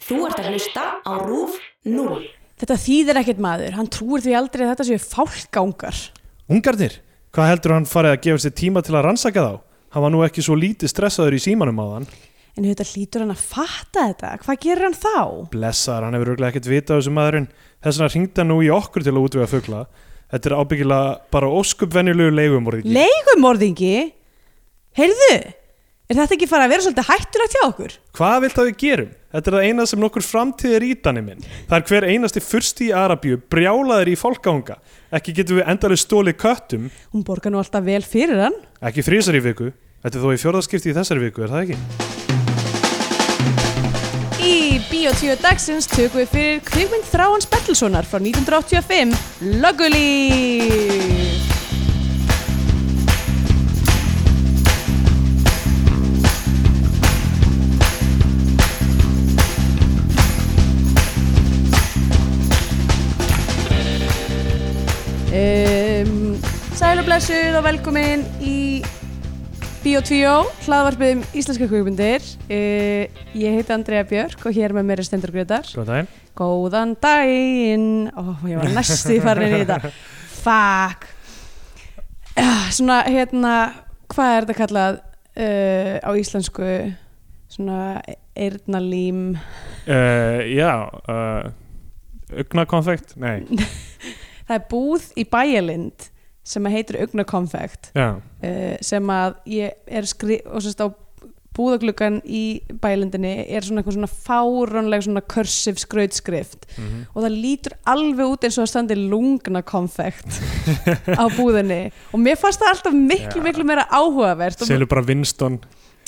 Þú ert að hlusta á RÚF 0. Þetta þýðir ekkert maður, hann trúir því aldrei að þetta séu fálkangar. Ungarnir, hvað heldur hann farið að gefa sér tíma til að rannsaka þá? Hann var nú ekki svo lítið stressaður í símanum á hann. En þetta hlýtur hann að fatta þetta, hvað gerir hann þá? Blessaður, hann hefur örglega ekkert vitað þessu maðurinn. Þess vegna hringdi hann nú í okkur til að útvega fugla. Þetta er ábyggilega bara óskupvenjulegu leigumorðingi. Leigumorðingi? Heyrðu, er þetta ekki fara að vera svolítið hættulegt hjá okkur? Hvað vilt að við gerum? Þetta er það eina sem nokkur framtíð er í danni minn. Það er hver einasti fyrsti í Arabíu brjálaður í fólkánga. Ekki getum við endalega stólið köttum, Hún borgar nú alltaf vel fyrir hann. ekki frísar í viku. Þetta er þó í fjórðaskipti í þessari viku, er það ekki? Í Bíotíu dagsins tökum við fyrir kvikmynd Þráans Bertelssonar frá 1985, Löggulíf. Um, sæl og blessuð og velkomin í Bíotvíó, hlaðvarpið um íslenska kvikmyndir. Uh, ég heiti Andrea Björk og hér með mér er Stendur Grötar. Góðan daginn. Góðan daginn! Ó, ég var næstu farin í þetta. Fuck! Uh, svona, hérna, hvað er þetta kallað uh, á íslensku? Svona, eirnalím. Uh, já, uh, augnakonfekt, nei, Það er búð í bæjalind sem að heitir Ugnakonfekt. já, uh, sem að ég er skrif og sérst á búðagluggan í bælindinni er svona eitthvað svona fárónleg svona kursiv skrautskrift Mhm. og það lítur alveg út eins og það standi lungna konfekt á búðinni og mér fannst það alltaf miklu Já. miklu meira áhugavert og, selur bara Winston,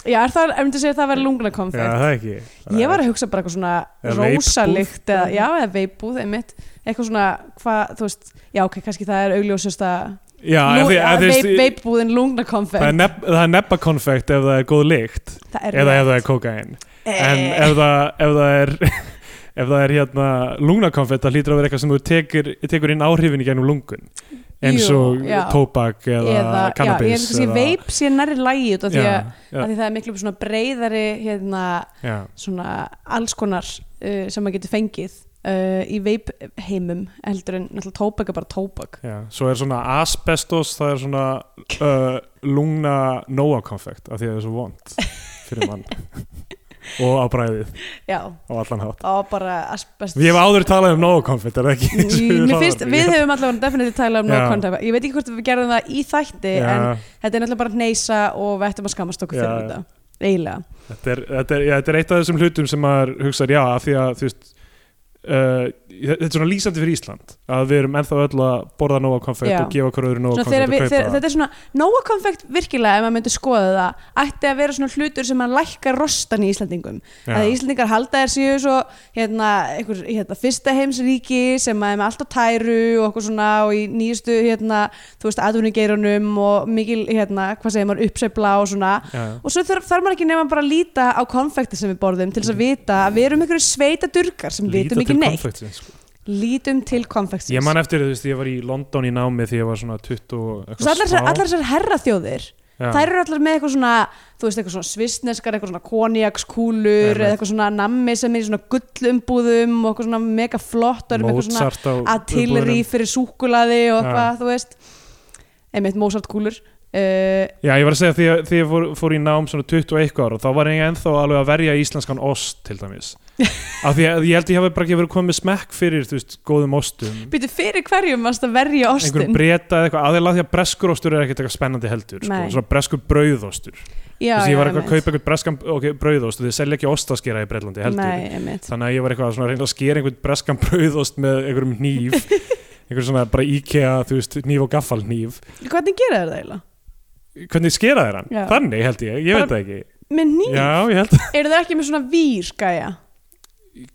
já, er það, ef myndi segja það verið lungna já, konfekt það er ekki. ég var að hugsa bara eitthvað svona Eða rósalikt eða, já, eða veipbúð einmitt, eitthvað svona hvað, þú veist, já ok, kannski það er augljósasta Já, ef þið, ef þið, veipbúðin lungna það er, konfekt neb, það er nebbakonfekt ef það er góð lykt, það er eða rétt. ef það er kokain, en Eh. ef það, ef það er... Ef það er hérna lungnakonfekt, það hlýtur að vera eitthvað sem þú tekur, tekur inn áhrifin í gennum lungun eins Jú, og Eh, já. tóbak eða, já, ég kannabis held að sé veip sé nærri lægi út af því, Já, að, já. af því það er miklu svona breyðari hérna, Já, svona alls konar uh, sem maður getur fengið uh, í veip heimum heldur en náttúrulega tóbak er bara tóbak já, svo er svona asbestos, það er svona uh, lungna nóakonfekt af því að það er svo vond fyrir mann og á bræðið já, á allan hátt og bara asbest Við hefum áður talað um nóakonfekt, er það ekki? um Í- Mér finnst, við hefum allavega definitíð talað um Já. nákvæmdæfa Ég veit ekki hvort við gerðum það í þætti en Já, þetta er náttúrulega bara neysa og við ættum að skammast okkur Já, fyrir já. þetta eiginlega þetta er, þetta, er, já, þetta er eitt af þessum hlutum sem maður hugsar já, af því að þú veist Uh, þetta er svona lýsandi fyrir Ísland að við erum ennþá öll að borða nóa konfekt Já. og gefa okkur öðru nóa Svona konfekt þegar að við, kaupa þegar, þetta er svona Nóa konfekt virkilega ef maður myndi skoða það ætti að vera svona hlutur sem að lækka rostan í Íslandingum Já. að Íslandingar halda þér séu svo hérna, einhver, hérna, fyrsta heimsríki sem að er með allt á tæru og okkur svona og í nýjustu hérna, þú veist, atvinnugeirunum og mikil, hérna, hvað segir maður, uppsveifla og svona já, og svo þarf, þarf maður ekki nefn bara að líta á konfekti sem við borðum til þess að vita að við erum einhverju sveita durgar sem Líta vitum til ekki neitt konfektsins, sko. lítum til konfektsins ég man eftir þú veist, ég var í London í námi því ég var svona 20 og Svo allar, smá. þessar- allar þessar herraþjóðir Já. þær eru allar með eitthvað svona þú veist eitthvað svona svissneskar, eitthvað svona koniakskúlur Einmitt. eða eitthvað svona nammi sem er í svona gullumbúðum og eitthvað svona mega flottar með eitthvað svona Mozart á atilri umbúðunum. fyrir súkulaði og Já. eitthvað, þú veist einmitt Mozart kúlur uh, Já, ég var að segja því að því ég fór, fór í nám svona 21 ára, þá var ég ennþá alveg að verja íslenskan ost til dæmis af því að ég held ég hafi bara ekki verið komið smekk fyrir, þú veist, góðum ostum býtu fyrir hverjum varst að verja einhverjum ostin breyta eða eitthvað, aðeins að því að breskur ostur er ekkert eitthvað spennandi heldur, sko, Nei. svona breskur brauðostur já, já, þess að ég var eitthvað einmitt. að kaupa eitthvað breskan okay, brauðost og þið selja ekki ostaskera í Breitlandi heldur Nei, einmitt. þannig að ég var eitthvað svona að reyna að skera einhvern breskan brauðost með einhverjum hníf einhverjum svona bara IKEA, þú veist, hníf og gaffal hníf hvernig gera þér það eiginlega? hvernig skera þér hann? Já. Þannig held ég, ég Bara- veit það ekki með nýr, Já, ég held eru það ekki með svona vír gæja?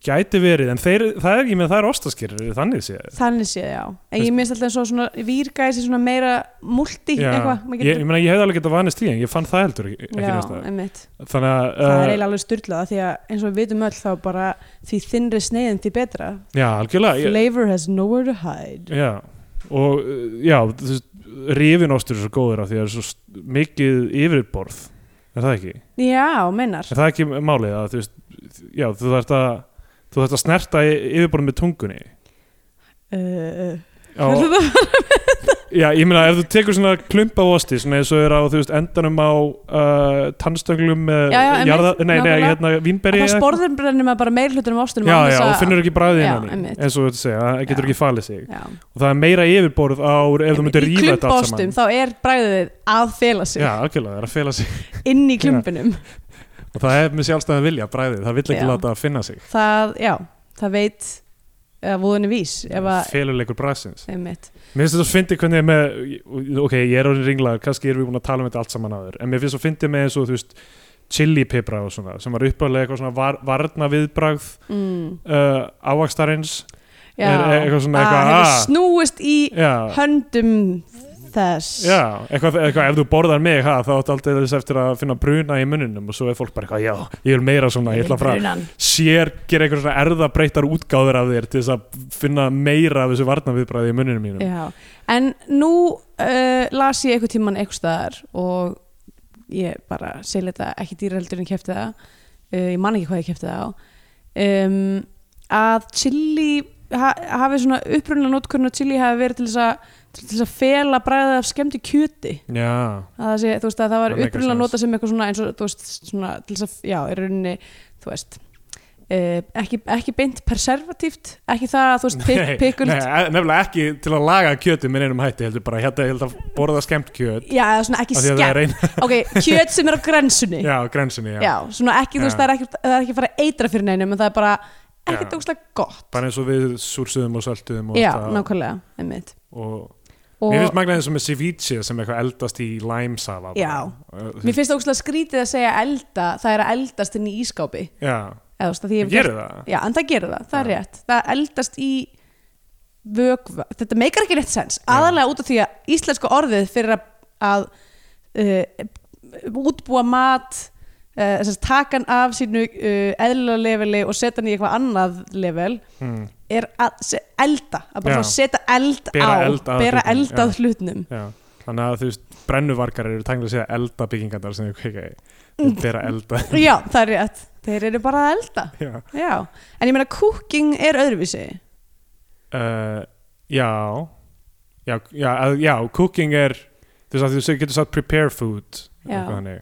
gæti verið, en þeir, það er ekki með það er ostaskerir, þannig séð Þannig séð, já. En ég minnst alltaf svo svona výrgæsi svona meira multi Já. eitthvað. maður ég, ég, meina, ég hefði alveg getað vanist því en ég fann það heldur ekki, ekki já, næsta einmitt. þannig að, Það er uh, eiginlega alveg styrlað því að eins og við vitum öll þá bara því þinnri sneiðin því betra. já, algjörlega ég, Flavor has nowhere to hide. já, og uh, já, þú veist, rifin ostur er svo góður af því að það er svo st- mikið yfirborð er það ekki? Já, meinar. er það ekki málið að þú veist, já, þú þarft að þú þetta snerta yfirborðum með tungunni uh, á, já, ég meina ef þú tekur svona klump af osti svona eins og er á þú veist endanum á uh, tannstönglu með Já, já, einmitt, jarða, nei, nei, nákvæmlega. hérna vínberi það sporðin brennir maður bara meir hlutunum ástunum já, já, og finnur ekki bræðið Já, innan í einmitt. eins og þú þetta segja, það getur Já. ekki falið sig já. og það er meira yfirborð á ef þú myndir í rífa þetta allt klumpástum saman þá er bræðið að fela sig já, algjörlega, það er að fela sig inn í klumpinum og það er með sjálfstæðan vilja, bræðið, það vill ekki Já. láta að finna sig það, já, það veit að vúðinni vís ef að feluleikur bræðsins einmitt. Mér finnst þetta svo fyndið hvernig ég er með ok, ég er orðin ringlaður, kannski erum við búin að tala um þetta allt saman áður, en mér finnst svo fyndið með eins og þú veist, chilipipra og svona sem var uppálega eitthvað svona var, varna viðbragð mm, uh, ávakstarins já, Er- er eitthvað svona eitthvað, að hefur ah. snúist í já, höndum þess já eitthvað, eitthvað, ef þú borðar mig, ha, þá átt aldrei þess eftir að finna bruna í munninum og svo er fólk bara eitthvað, já, ég vil meira svona, ég ætla frá Brunan. sér, gera eitthvað svona erðabreittar útgáður af þér til þess að finna meira af þessu varnaviðbræði í munninum mínum Já, en nú uh, las ég einhvern tíman einhvers staðar og ég bara sel þetta ekki dýraldur en kefti það uh, ég man ekki hvað ég kefti það á um, að chili ha, hafi svona upprunlega notkurinn að chili hafi verið til þess að til þess að fela bræðið af skemmti kjöti já, að það, sé, þú veist, að það var Það makes upprunlega sense. nota sem eitthvað svona eins og þú veist, svona, til þess að, já, í rauninni þú veist uh, ekki, ekki beint preservatíft ekki það að þú veist, pik, Nei, pikkult nei, e- nefnilega ekki til að laga kjötu með einum hætti heldur bara hérna ég held að borða skemmt kjöt Já, eða svona ekki af því að það er skemmt eina Ok, kjöt sem er á grensunni Já, já, á grensinni, já. svona ekki, þú veist, Já. það er ekki, það er ekki að fara að eitra fyrir neinum En það er bara ekki Já. tókslega gott bara eins og við súrsuðum og söltuðum og, Já, allt það. nákvæmlega, einmitt og, Og mér finnst magnaðið eins og með ceviche sem eitthvað eldast í læmsafa bara. Já. Uh, þú- mér finnst tókslega skrítið að segja elda Það er að eldast inn í ískápi já, Eða, þú veist, að því ég ég gerir það Já, en það gerir það, það er Já. rétt Það eldast í vökva Þetta meikar ekki rétt sens aðalega út af því að íslensku orðið fyrir að, að uh, útbúa mat uh, þess að taka hann af sínu uh, eðlilega leveli og setja hann í eitthvað annað level hmm. er að se- elda, að bara Já. svona setja eld Bera á, eld að bera hlutnum, eld að hlutnum já. þannig að þú veist brennuvarkar eru tæmlega að segja elda byggingandar sem við kveika í Mm. bera elda Já, það er rétt, þeir eru bara að elda já, Já, en ég meina cooking er öðruvísi uh, já já, já, að- já, cooking er þú veist að þú getur sagt prepare food Já. eitthvað þannig.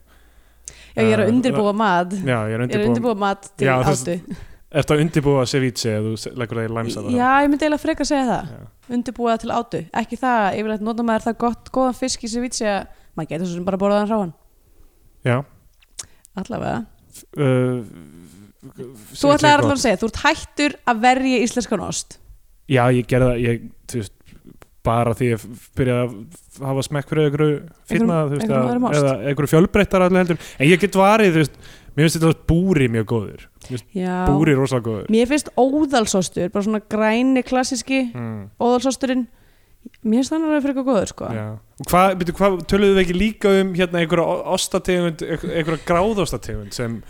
Já, ég er Eh, að undirbúa mat Já, ég er Ég er að undirbúin. undirbúa mat til Já, þess- áttu Ertu að undirbúa ceviche eða þú se- leggur það í læmsafa? Já, ég myndi eiginlega frekar segja það Já. Undirbúa til átu, ekki það Yfirleitt nota maður það gott, góðan fisk í sér vitsi að maður getur svo sem bara borðað hann ráan Já. Allavega Uh, Þú ætlaði allavega að segja, þú ert hættur að verja íslenskan ost Já, ég gerði það, ég, þú veist, bara því ég byrjaði að hafa smekk fyrir einhverju Einhverjum- finna, þú veist, einhverjum öðrum að, ost. eða einhverju fjölbreyttar allir heldur. En ég get varið, þú veist, mér finnst þetta búri mjög góður. Já Búri er rosalega góður. Mér finnst óðalsostur, bara svona græni klassíski Mm, óðalsosturinn Mér finnst þannig að það er frekar góður sko já. Og Hvað, byrju, hvað töluðu við ekki líka um hérna einhverja o- ostategund, einhverja gráðostategund sem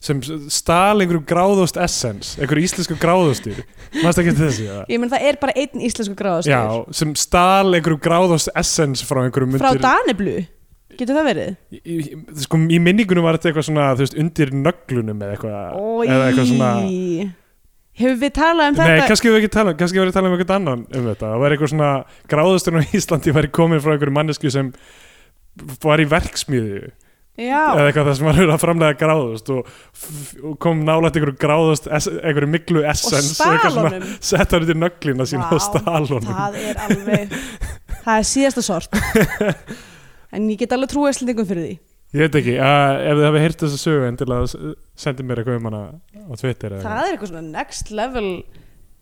sem stal einhverjum gráðost essens, einhverju íslensku gráðostur maður ekki eftir þessu, já Ég menn það er bara einn íslensku gráðastur Já, sem stal einhverjum gráðast essens frá einhverjum Frá Daneblu, getur það verið? Í- í- í- sko, í minningunum var þetta eitthvað svona þú veist, undir nöglunum eða eitthvað eða eitthvað svona Í. Hefur við talað um Nei, þetta? kannski við ekki tala, kannski við tala um eitthvað annan um þetta, það var eitthvað svona gráðasturinn á Íslandi væri komin frá einhverjum mannesku sem var í verksmiðju Já, eða eitthvað það sem var að framlega gráðust og, f- og kom nálægt einhverju gráðust ess- einhverju miklu essens stal eitthvað svona, honum. sett hann undir nöglina sína Vá, og stal honum það er alveg það er síðasta sort en ég get alveg trúið slendingum fyrir því Ég veit ekki, uh, ef þið hafi heyrt þessa sögu endilega sendi mér eitthvað um hana á Twitter eða það er eitthvað svona next level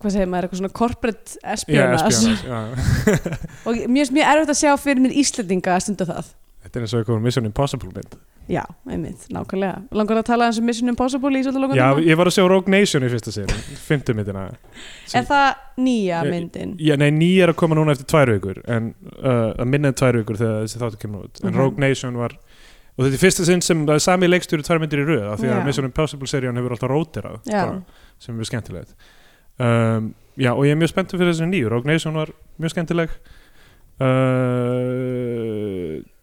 hvað segir maður, eitthvað svona corporate Já, espionage espionage, já. og mér finnst mjög erfitt að sjá fyrir mér Íslendinga að stunda það Þetta er eins og eitthvað úr Mission Impossible mynd já, einmitt, nákvæmlega langar að tala eins um Mission Impossible í svolítið Já, langan tíma? ég var að sjá Rogue Nation í fyrsta séri Fymtu myndina er það nýja Ég- myndin? Já, nei, ný er að koma núna eftir tvær vikur En uh, að minna en tvær vikur þegar þessi þáttu kemur út En Mhm. Rogue Nation var Og þetta er fyrsta sinn sem það er sami leikstjóri tvær myndir í röð af Því að Já. Mission Impossible serían hefur alltaf rótirað Já. bara, Sem er mjög skemmtilegt um, Já, og ég er mjög spenntur fyrir þessi nýju Rogue Nation var mjög skemmtileg Uh,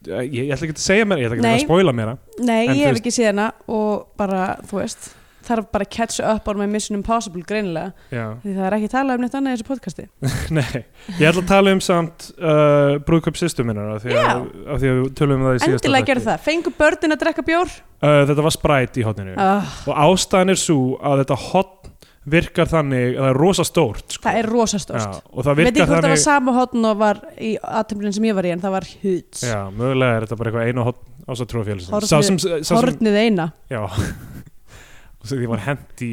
ég, ég ætla ekki að segja mér ég ætla ekki Nei. að spóila mér nei, ég En þú hef veist- ekki séð hana og bara, þú veist þarf bara að catch up on my Mission Impossible greinilega já. því það er ekki talað um neitt annað í þessu podcasti Nei, ég ætla að tala um samt uh, brúðköp sýstum minnar af því, að, af því að við tölum um það í síðasta endilega gerðu það, fengu börnin að drekka bjór Uh, þetta var spræt í hotninu oh, og ástæðan er svo að þetta hotn virkar þannig að það er rosa stórt sko. það er rosastórt Já, og það veit ekki virkar hvort það var þannig sama hotn og var í aðtöflin sem ég var í en það var huts Já, mögulega er þetta bara eitthvað einu hotn á svo Hornið- trúafélagsins Sá sem, sá sem hornið eina Já og svo því var hent í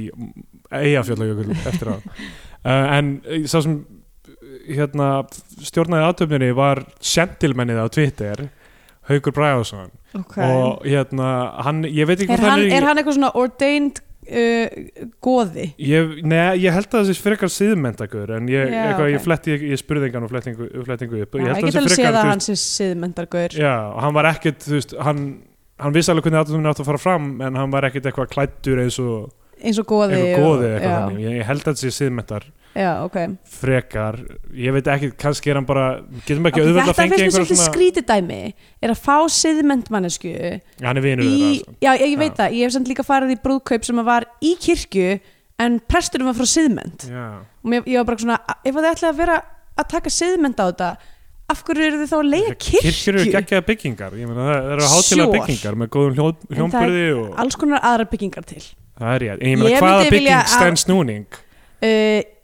eigafjallajökul eftir á uh, en eh, sá sem eh, hérna stjórnaði aðtöfninni var sentilmennið á Twitter Haukur Bræðarsson og hérna hann, ég veit ekki er, hvort hann, í- er hann eitthvað svona ordained uh, goði Ég, nei, ég held að það sé frekar síðmentakur en ég, Já, eitthvað, ég, ok. fletti, ég, ég spurði engan og flettingu, flettingu upp Já, ég held get alveg séð þú að veist- hann sé siðmendargaur Já, og hann var ekkert, þú veist, hann, hann vissi alveg hvernig aðtöfnum átt að fara fram en hann var ekkert eitthvað klættur eins og eins og goði og- eitthvað góði eitthvað já, þannig. Ég, ég held að það sé síðmentar já, ok frekar, ég veit ekki, kannski er hann bara, getum Ok, við ekki auðvöld að Þetta fengi finnst mér einhver svolítið svona, skrítið dæmi er að fá siðmyndmannesku í, hann er vinur þeirra, sko. já ég veit Já. það, ég hef samt líka farið í brúðkaup sem að var í kirkju en presturinn var frá siðmynd sko. Já. og mér, ég var bara svona, ef þið ætlaði að vera að taka siðmynd á þetta af hverju eru þið þá að leiða kirkju? Kirkjur eru geggjaða byggingar, ég meina það það eru hátilega Sure. byggingar með góðum hljó- En það er hljómburði og alls konar aðra byggingar til það er ég, en ég meina Ég hvaða myndi vilja bygging að- stendst núning? uh,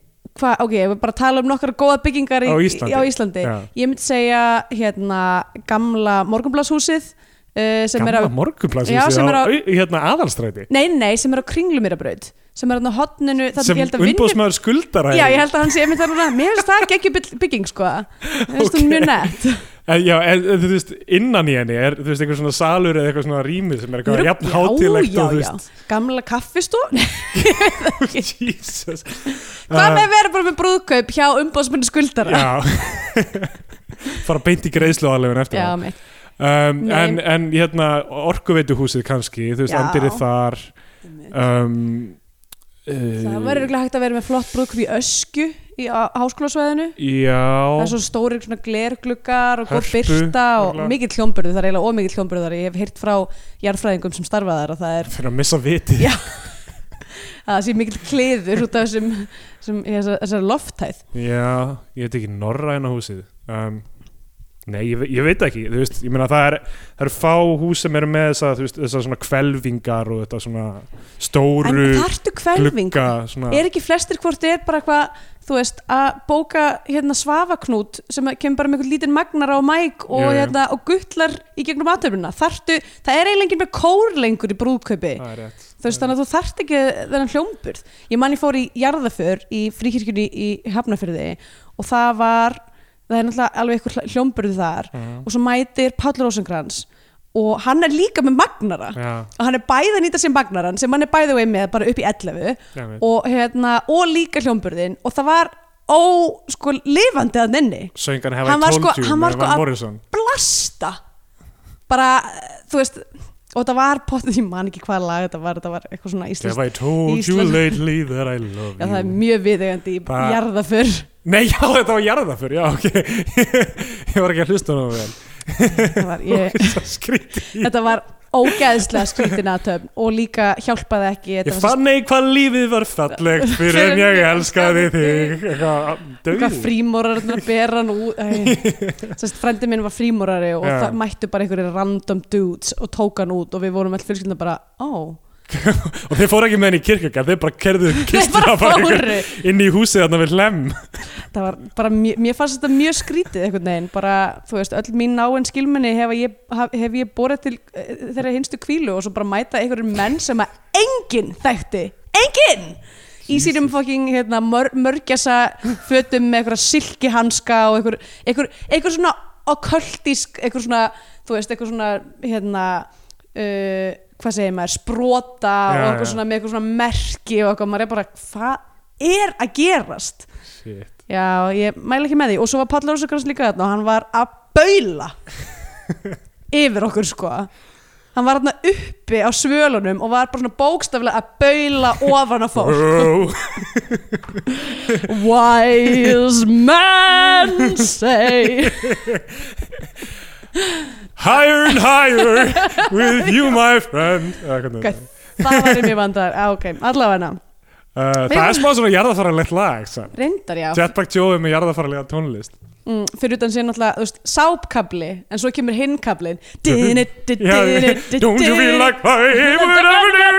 hva, ok, ef við bara tala um nokkar góða byggingar í, Á Íslandi. á Íslandi. Já. ég myndi segja hérna, gamla morgunblashúsið uh, sem er Gamla á morgunplassið Já, sem er á- hérna aðalstræti Nei, nei, sem er á kringlumýrabraut sem er hann á hotninu það, sem ég held að vinnu- umbóðsmaður skuldar Já, ég held að hann sé einmitt þar núna Mér finnst það ekki bygging, sko Mér finnst hún Ok. mjög nett en, já, en, en, þú veist, innan í henni er þú veist, einhver svona salur eða eitthvað svona rými sem er Mér eitthvað er- Sko, jafn hátilegt já, og þú já. veist Gamla kaffistó Jesus Hvað með Uh, að vera bara með brúðkaup hjá umbóðsmenni skuldara Já fara beint í greiðslu aðlefin eftir já það mitt um, Nei. en, en hérna orkuveituhúsið kannski, þú veist, Já. endirið þar um, Það var uh, eiginlega hægt að vera með flott brúðkaup í ösku í á- háskólasvæðinu Það er já svo stórir svona glergluggar og góð Hörpu, byrta og örugglega. mikill hljómburður, það er eiginlega ómikill hljómburður ég hef heyrt frá jarðfræðingum sem starfaðar að það er fyrir að missa viti Já. að það sé mikill kliður út af þessum, þessum þessar, þessar lofthæð Já, ég veit ekki norræna húsið um, Nei, ég, ve- ég veit ekki þú veist, ég meina það er, það er fá hús sem eru með þessa, þú veist, þessa svona kvelvingar og þetta svona en stóru þartu kvelving glugga svona, er ekki flestir hvort er bara eitthvað þú veist, að bóka hérna svafaknút sem að kemur bara með einhvern lítinn magnara og mæk og, Jú, jú. hérna, og guttlar í gegnum aðtöfnina þartu, það er eiginlega enginn með kór lengur í brúðkaupi, Það er rétt þú veist þannig að þú þart ekki þennan hljómburð, ég man ég fór í jarðaför í fríkirkjunni í Hafnafyrði og það var það er náttúrulega alveg eitthvað hljómburð þar og svo mætir Páll Rósengrans og hann er líka með magnara Já, og hann er bæði að nýta sér magnaran sem hann er bæði veið með bara upp í 11 já, veit og, hérna, og líka hljómburðin og það var ó, sko, lifandi að nenni Söngan hefa Hann í var sko- tóltjú hann var með sko Van að- Morrison blasta bara, eh, þú veist og það var potið, ég man ekki hvaða lag þetta var, þetta var eitthvað svona íslensk Have I told you Ísland- lately that I love Já, það er you mjög viðegandi í Bara- jarðaför Nei, já, þetta var jarðaför, já, ok Ég var ekki að hlusta hana vel Það var- ég- Það skríti í Þetta var ógeðslega skrítin aðtöfn og líka hjálpaði ekki Ég þetta var fann ekki hvað lífið var fallegt fyrir en ég elskaði þig eitthvað Hvað dauður. frímórar að bera hann út Æ, Sest, Frendi minn var frímórari og Já. það mættu bara einhverjir random dudes og tók hann út og við vorum alltaf fjölskyldna bara ó, og þeir fóru ekki með henni í kirkjögar þeir bara kerðu þeir kistur bara ykkur fóru inn í húsið þarna við hlem það var bara, mjög, mér fannst þetta mjög skrítið einhvern veginn, bara, þú veist, öll mín náinn skilminni hef ég, haf, hef ég borið til eh, þeirra hinstu kvílu og svo bara mæta einhverjum menn sem að enginn þekkti, enginn í sínum fokking hérna, mör, mörgjasa fötum með einhverja silkihanska og einhver, einhver, einhver svona okkultísk, einhver svona þú veist, einhver svona hérna, uh, hvað segir maður, sprota Já, og einhver já. svona með einhver svona merki og eitthvað, maður er bara, hvað er að gerast? Shit. Já, ég mæla ekki með því og svo var Páll Rósakrans líka þarna og hann var að baula yfir okkur sko hann var þarna uppi á svölunum og var bara svona bókstaflega að baula ofan á fólk Wow. Wise men say higher and higher with you my friend Eða hvernig Hvað þetta það var í mér vandar, ah, ok, allavega Uh, það er smá svona jarðafaralegt lag samt. reyndar já, Jetpack Joe er með jarðafaralega tónlist mm, fyrir utan sér náttúrulega þú veist, sápkabli, en svo kemur hinn kablin don't Don't you feel like fire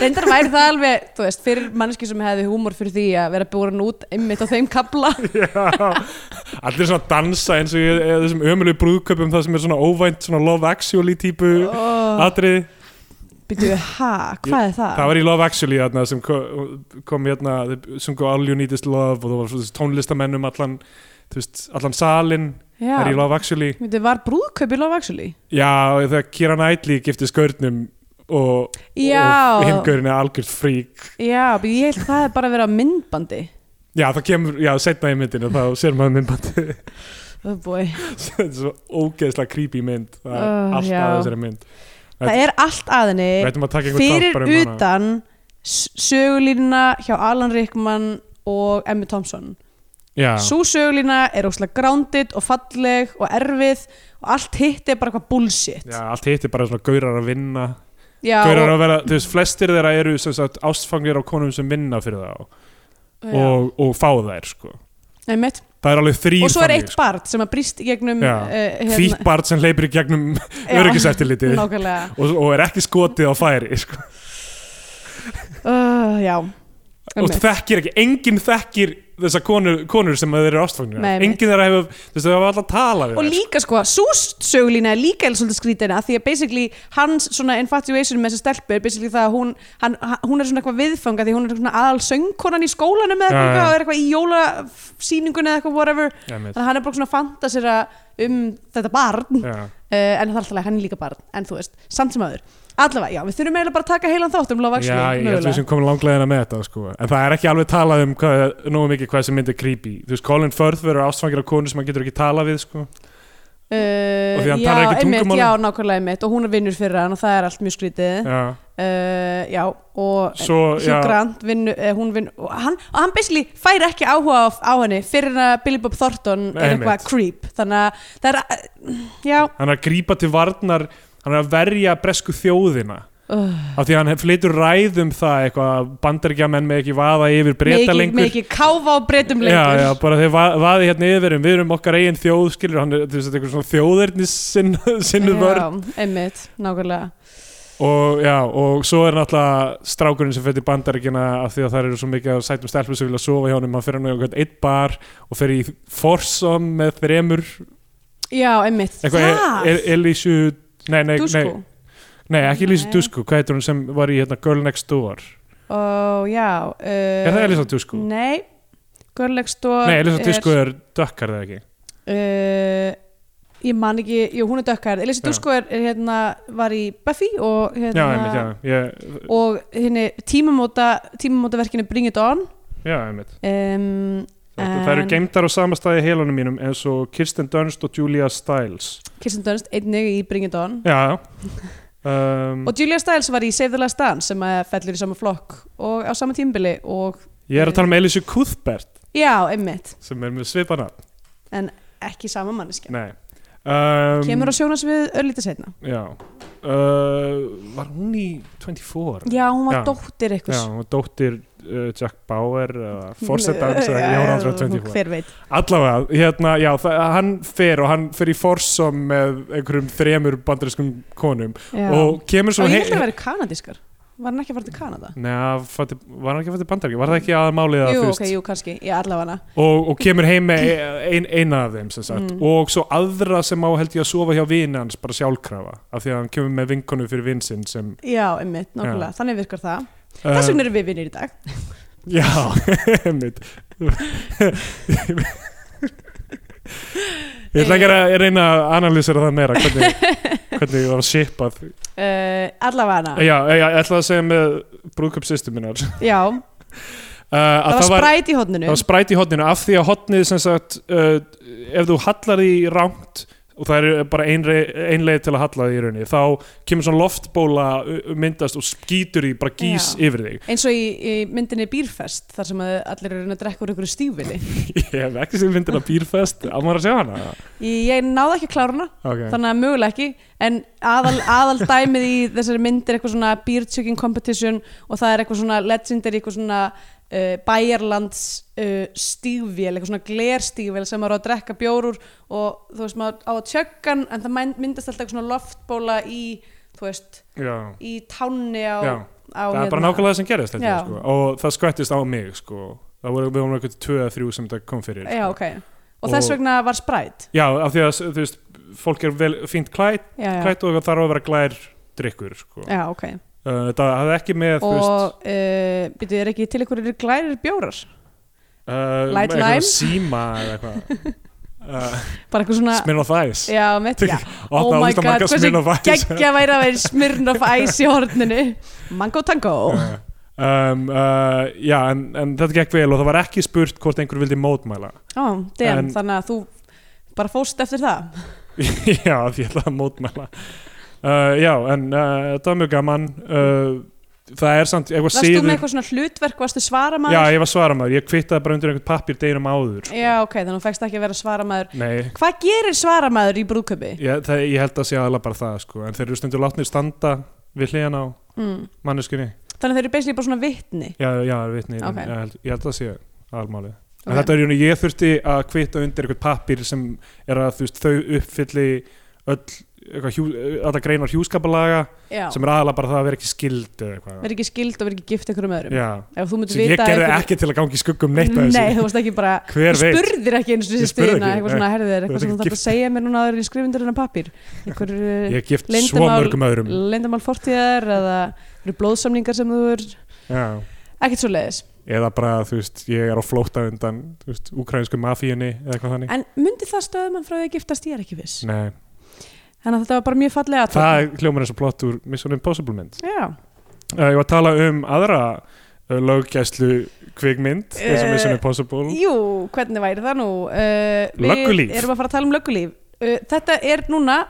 reyndar væri það alveg, þú veist, fyrir mannski sem hefði húmor fyrir því að vera búin út einmitt á þeim kabla Já, allir svona dansa eins og ég, eða þessum ömulegu brúðköpum það sem er svona óvænt svona Love Actually típu oh, atrið, byrju, ha, hvað er það? það var í Love Actually þarna, sem ko- kom hérna þau sungu All You Need Is Love og það var svona þessi tónlistamenn um allan þú veist, allan salin já, er í Love Actually Myndi, var brúðkaup í Love Actually? já, og þegar Kira Knightley gifti skörnum og, Já. og hingurinn er algjörð frík Já, byrju, ég held það er bara að vera á myndbandi já, það kemur, já, setna í myndinu þá sér maður myndbandi oh boy. þetta er svo ógeðslega creepy mynd það er Oh, allt já. að þessari mynd Það er allt að við henni ættum að taka einhvern fyrir þátt bara um hana utan s- sögulínuna hjá Alan Rickman og Emma Thompson Já, Sú sögulína er óslega grounded og falleg og erfið og allt hitt er bara eitthvað bullshit já, allt hitt er bara svona gaurar að vinna Já, Gaurar og, að vera, þú veist, flestir þeirra eru sem sagt ástfangir á konum sem vinna fyrir þá og, og fá þær, sko já. einmitt. Það er alveg þrýr og svo er eitt barn sem að brýst í gegnum sko. Já. uh, sko. Hvít barn sem hleypir í gegnum Já, öryggiseftirlitið og, Nákvæmlega og er ekki skotið á færi, sko uh, Já og einmitt. þú þekkir ekki, enginn þekkir þessa konur, konur sem þeir eru ástfangir Nei, af. einmitt. Enginn þeirra hefur, þú veist, þau hafa alltaf talað við og þær, líka sko, svo sögulína er líka eða svolítið skrítina því að basically hans svona infatuation með þessi stelpu er basically það að hún, hann, hann- hún er svona eitthvað viðfanga því hún er svona aðal söngkonan í skólanum eða Já, eitthvað já. og er eitthvað í jólasýningunni eða eitthvað whatever sko. Einmitt. þannig að hann er bara svona að fantasera um þetta barn uh, Já. en það er alltaf að hann er líka barn en þú veist, samt sem aður allavega, já, við þurfum eiginlega bara að taka heilan þátt um Já, ég held að við lofakslu sem komum langlegina með þetta sko. en það er ekki alveg talað um hvað, nógu mikið hvað sem myndi creepy þú veist, Colin Firth verður ástfangir af konu sem hann getur ekki talað við sko. Uh, Og því hann já, talar ekki einmitt, tungumálið. já, nákvæmlega einmitt og hún er vinnur fyrir hann og það er allt mjög skrítið já, uh, já, og svo, já, Hugh Grant vinnu, eh, hún vinnu og hann, og hann basically fær ekki áhuga á, á henni fyrir en að Billy Bob Thornton er Einmitt. eitthvað creep þannig að það er að- já, hann er að grípa til varnar hann er að verja bresku þjóðina uh, af því að hann flytur ræðum það eitthvað að bandaríkjamenn með ekki vaða yfir breyta mikið, lengur mikið káfa á breytum um já, lengur já, bara þeir va vaði hérna yfir um, við erum okkar eigin þjóð skilur, hann er, þú veist, þetta er eitthvað svona þjóðernis sinnu vörn einmitt, nákvæmlega og, já, og svo er náttúrulega strákurinn sem fyrir til bandaríkina af því að það eru svo mikið af sætum stelpum sem vilja sofa hjá honum, hann fyrir hann í einhvern eitt bar og fyrir í forsom með þremur já, einmitt, eitthvað það, El- Elísu nei, nei, nei, Dusko nei, ekki Elísu Nei. Dusko, hvað heitir hún sem var í hérna, Girl Next Door og já uh, er það Elísa Dusko? nei, eh, Görlegsdór nei, Elísa Dusko er dökkar það ekki uh, ég man ekki, jú hún er dökkar Elisa Já. Dusko er, er hérna, var í Buffy og hérna já, einmitt, já, ég, og hérna tímamóta tímamótaverkinu Bring It On já, einmitt um, Það, það eru En- geimdar á sama staði í heilunum mínum eins og Kirsten Dunst og Julia Stiles Kirsten Dunst, einnig í Bring It On Já, já um, og Julia Stiles var í Save the Last Dance sem að fellur í sama flokk og á sama tímbili og Ég er að tala um Elísu Cuthbert já, einmitt, sem er með svipana ekki sama manneskja Nei um, kemur á sjónas við örlítið setna Já uh, Var hún í 24? já, hún var Já. dóttir Já, eitthvað hún var dóttir uh, Jack Bauer eða Forsetans eða ekki, hún var aldrei 24 hver veit Allavega, hérna, já, það, hann fer og hann fer í forsom með einhverjum þremur bandariskum konum já. og kemur og svo ég held að vera kanadískar var hann ekki að fara til Kanada? Nei, hann fætti- var hann ekki að fætti bandaríki? Var það ekki aðal málið að Jú, þú veist ok, jú, kannski, ég allavega og, og kemur heim með e-, ein, eina af þeim sem sagt Mm. og svo aðra sem á held ég að sofa hjá vini hans bara sjálfkrafa af því að hann kemur með vinkonu fyrir vinsinn sem Já, einmitt, nákvæmlega, þannig virkar það Þess um, vegna erum við vinnir í dag ehm, Já, einmitt Ég ætla ekki Eh. að reyna að analýsera það meira hvernig, hvernig það var shipað uh, Allavega Já, já, ég ætla að segja með brúðköpsýstum minnar uh, Já, það að var spræt í hodninu Það var spræt í hotninu af því að hotnið sem sagt uh, ef þú hallar því rangt og og það er bara ein, rei- ein leið til að halla því í rauninni þá kemur svona loftbóla uh, myndast og skýtur því bara gís Já. yfir þig eins og í, í myndinni Bírfest þar sem að allir eru að drekka úr einhverju stífili ég hef ekki sem myndina býrfest á maður að sjá hana ég, ég náði ekki að klára hana okay. þannig að mögulega ekki en aðal, aðal dæmið í þessari mynd er eitthvað svona beer chugging competition og það er eitthvað svona legendary eitthvað svona uh, bæjarlands uh, stífvél, eitthvað svona glerstífvél sem maður á að drekka bjór úr og þú veist maður á að tjöggan en það mæn- myndast alltaf eitthvað svona loftbóla í þú veist, Já. í tánni á, Já, á það er bara nákvæmlega það sem gerist þetta, hérna. Já. sko. og það skvættist á mig sko. það voru, við vorum eitthvað tvö að þrjú sem þetta kom fyrir já, sko. ok, og, þess Og- vegna var spræt já, af því að þú veist, fólk er vel fínt klætt, já, já, klætt og það þarf að vera glær drikkur sko. já, ok Uh, þetta hafði ekki með þú veist, og uh, byrjuðu er ekki til ykkur eru glærir bjórar uh, Light eitthvað lime? síma eða eitthvað uh, bara eitthvað svona sminn og þæs Já, mitt, já. Opna Oh my ógeðslega marga god, hversu Smirnoff Ice. geggja væri að vera Smirnoff Ice í horninu Mango Tango um, uh, já en, en þetta gekk vel og það var ekki spurt hvort einhver vildi mótmæla Ó, damn, En- þannig að þú bara fóst eftir það já því ég ætlaði að mótmæla uh, já en uh, þetta var mjög gaman uh, það er samt eitthvað Varst þú með síður eitthvað svona hlutverk, varstu svaramaður? já ég var svaramaður, ég kvittaði bara undir einhvern pappir deginum áður sko. Já, ok, þannig að þú fækst ekki að vera svaramaður nei Hvað gerir svaramaður í brúðköpi? ég, það, ég held að sé aðla bara það sko. en þeir eru stundur látnir standa við hliðan á Mm. manneskunni Þannig að þeir eru basically bara svona vitni Já, já, vitni, Ok. okay. ég, held, ég held að sé aðalmálið. Ok. En þetta er júni, ég þurfti að kvita undir eitthvað pappir sem er að þú veist, þau uppfylli öll, eitthvað, hjú, alla greinar hjúskapalaga Já, sem er aðalega bara það að vera ekki skild eða eitthvað. verð ekki skild og verð ekki gift einhverjum öðrum Já, Ef þú myndir sem ég vita gerði einhver- ekki til að gangi skuggum um neitt af Nei, þessu. þú varst ekki bara Hver Þú veit? spurðir ekki eins og Ég þessi spurði stíðina ekki, eitthvað svona, herðu þér, eitthvað Þú ert sem ekki þú þarf að gift. segja mér núna áður en ég skrifa undir hennar pappír einhver eh, Ég er gift svo Leyndarmál- mörgum öðrum. lendamál fortíðar eða eru blóðsamlingar sem þú er Já, ekkert svo leiðis eða bara, þú veist, ég er á flóta undan, þú veist, ukrainsku mafíunni eða eitthvað þannig. en myndi það stöðum hann frá því að giftast ég er ekki viss Nei, þannig að þetta var bara mjög fallega Mm. það hljómar eins og plott úr Mission Impossible mynd. já, Uh, ég var að tala um aðra uh, löggæslu kvikmynd Eh, eins og Mission Impossible jú, hvernig væri það nú uh, Löggulíf. við erum að fara að tala um löggulíf uh, þetta er núna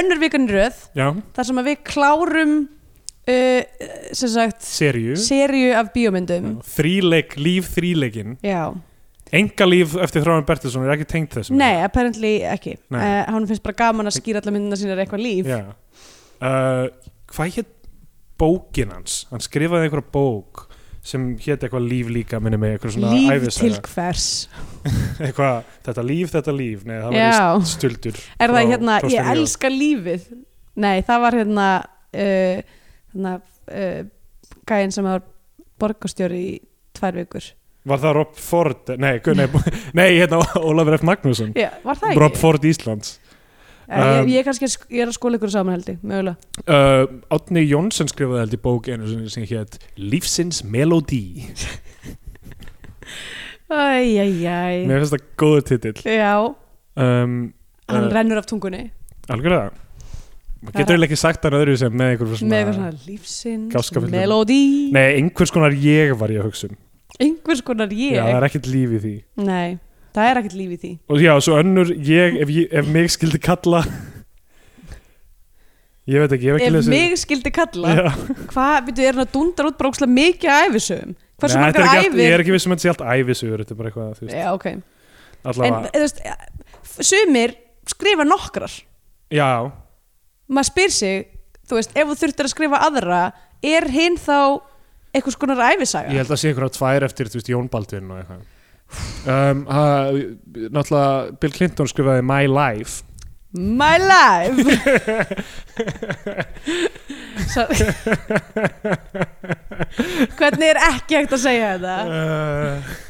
önnur vikan í röð já, þar sem að við klárum uh, sem sagt seríu seríu af bíómyndum þríleik, líf þríleikin já, enga líf eftir Þráin Bertilsson er ekki tengt þessum Nei, apparently ekki Nei. uh, Hann finnst bara gaman að skýra alla myndina sínar eitthvað líf já. Uh, hvað hétt bókin hans hann skrifaði einhverja bók sem hétt eitthvað líf líka minni með eitthvað svona Líf til æfisaga hvers eitthvað, þetta líf, þetta líf Nei, það var Já, stöldur er frá það hérna Þorsteini Ég Jóhann. elska lífið Nei, það var hérna uh, hérna uh, gæinn sem var borgarstjóri í tvær vikur var það Rob Ford, nei, gu- nei, nei hérna Ólafur F. Magnússon Já, var það Rob ekki? Ford Íslands Uh, ég, um, ég, kannski, er sk- ég er að skóla ykkur saman held ég, mögulega Uh, Átni Jónsson skrifaði held í bók einu sinni sem hétt Lífsins Melodí Æjæjæj Mér finnst það góður titill Já, um, hann Eh, rennur af tungunni Algjörlega Maður getur eiginlega ekki sagt hann öðru sem með einhver með svona, eitthvað svona lífsins, gáskafullu- melódi Nei, einhvers konar ég var ég að hugsa um einhvers konar ég Já, það er ekkert líf í því Nei, það er ekkert líf í því Og já, svo önnur ég, ef, ég, ef mig skildi kalla Ég veit ekki, ég hef ekki Ef lesið mig skildi kalla, Já. hvað, veitu, er hann að dundar út brókslega mikið að æfisum? Hversu Nei, margar þetta er ekki allt- Ég æfir? er ekki viss um að þetta sé allt æfisugur Þetta er bara eitthvað, þú veist, Já, ok. En, allavega þú veist, sumir skrifa nokkrar. Já, Maður spyr sig, þú veist, ef þú þurftir að skrifa aðra, er hinn þá einhvers konar æfisaga? Ég held að sé einhverja tvær eftir þú veist, Jón Baldvin og eitthvað um, að, Náttúrulega Bill Clinton skrifaði My Life Eh, My life! Svo, hvernig er ekki hægt að segja þetta? uh,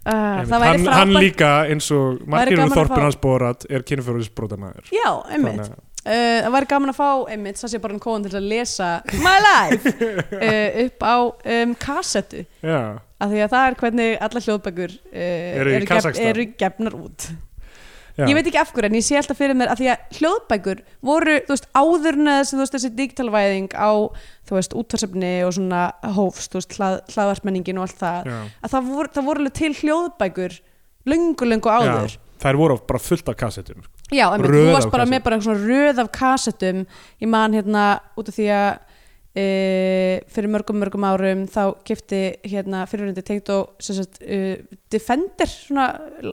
Uh, það væri hann, hann frábært. líka eins og Væri margir gaman um að þorpun fá- hans borat er kynfjörðisbrotamæður Já, einmitt. Uh, það væri gaman að fá einmitt Sassi Baron Cohen til að lesa My Life uh, upp á um, kassettu já, af því að það er hvernig alla hljóðbækur uh, Eru í Kasakstan. eru gefnar út já. ég veit ekki af hverju en ég sé alltaf fyrir mér af því að hljóðbækur voru þú veist, áðurna þessi, þú veist, þessi digitalvæðing á þú veist, útvarsefni og svona hófst, þú veist, hlað, hlaðvarsmenningin og allt það já. að það voru, það voru alveg til hljóðbækur löngu, löngu áður þær voru bara fullt af kassettum sko. Já, en þú Röð varst af bara með kassettum. bara svona röð af kassettum ég man hérna út af því að e, fyrir mörgum mörgum árum þá kipti hérna fyrirhundi tengd og sem sagt, e, Defender svona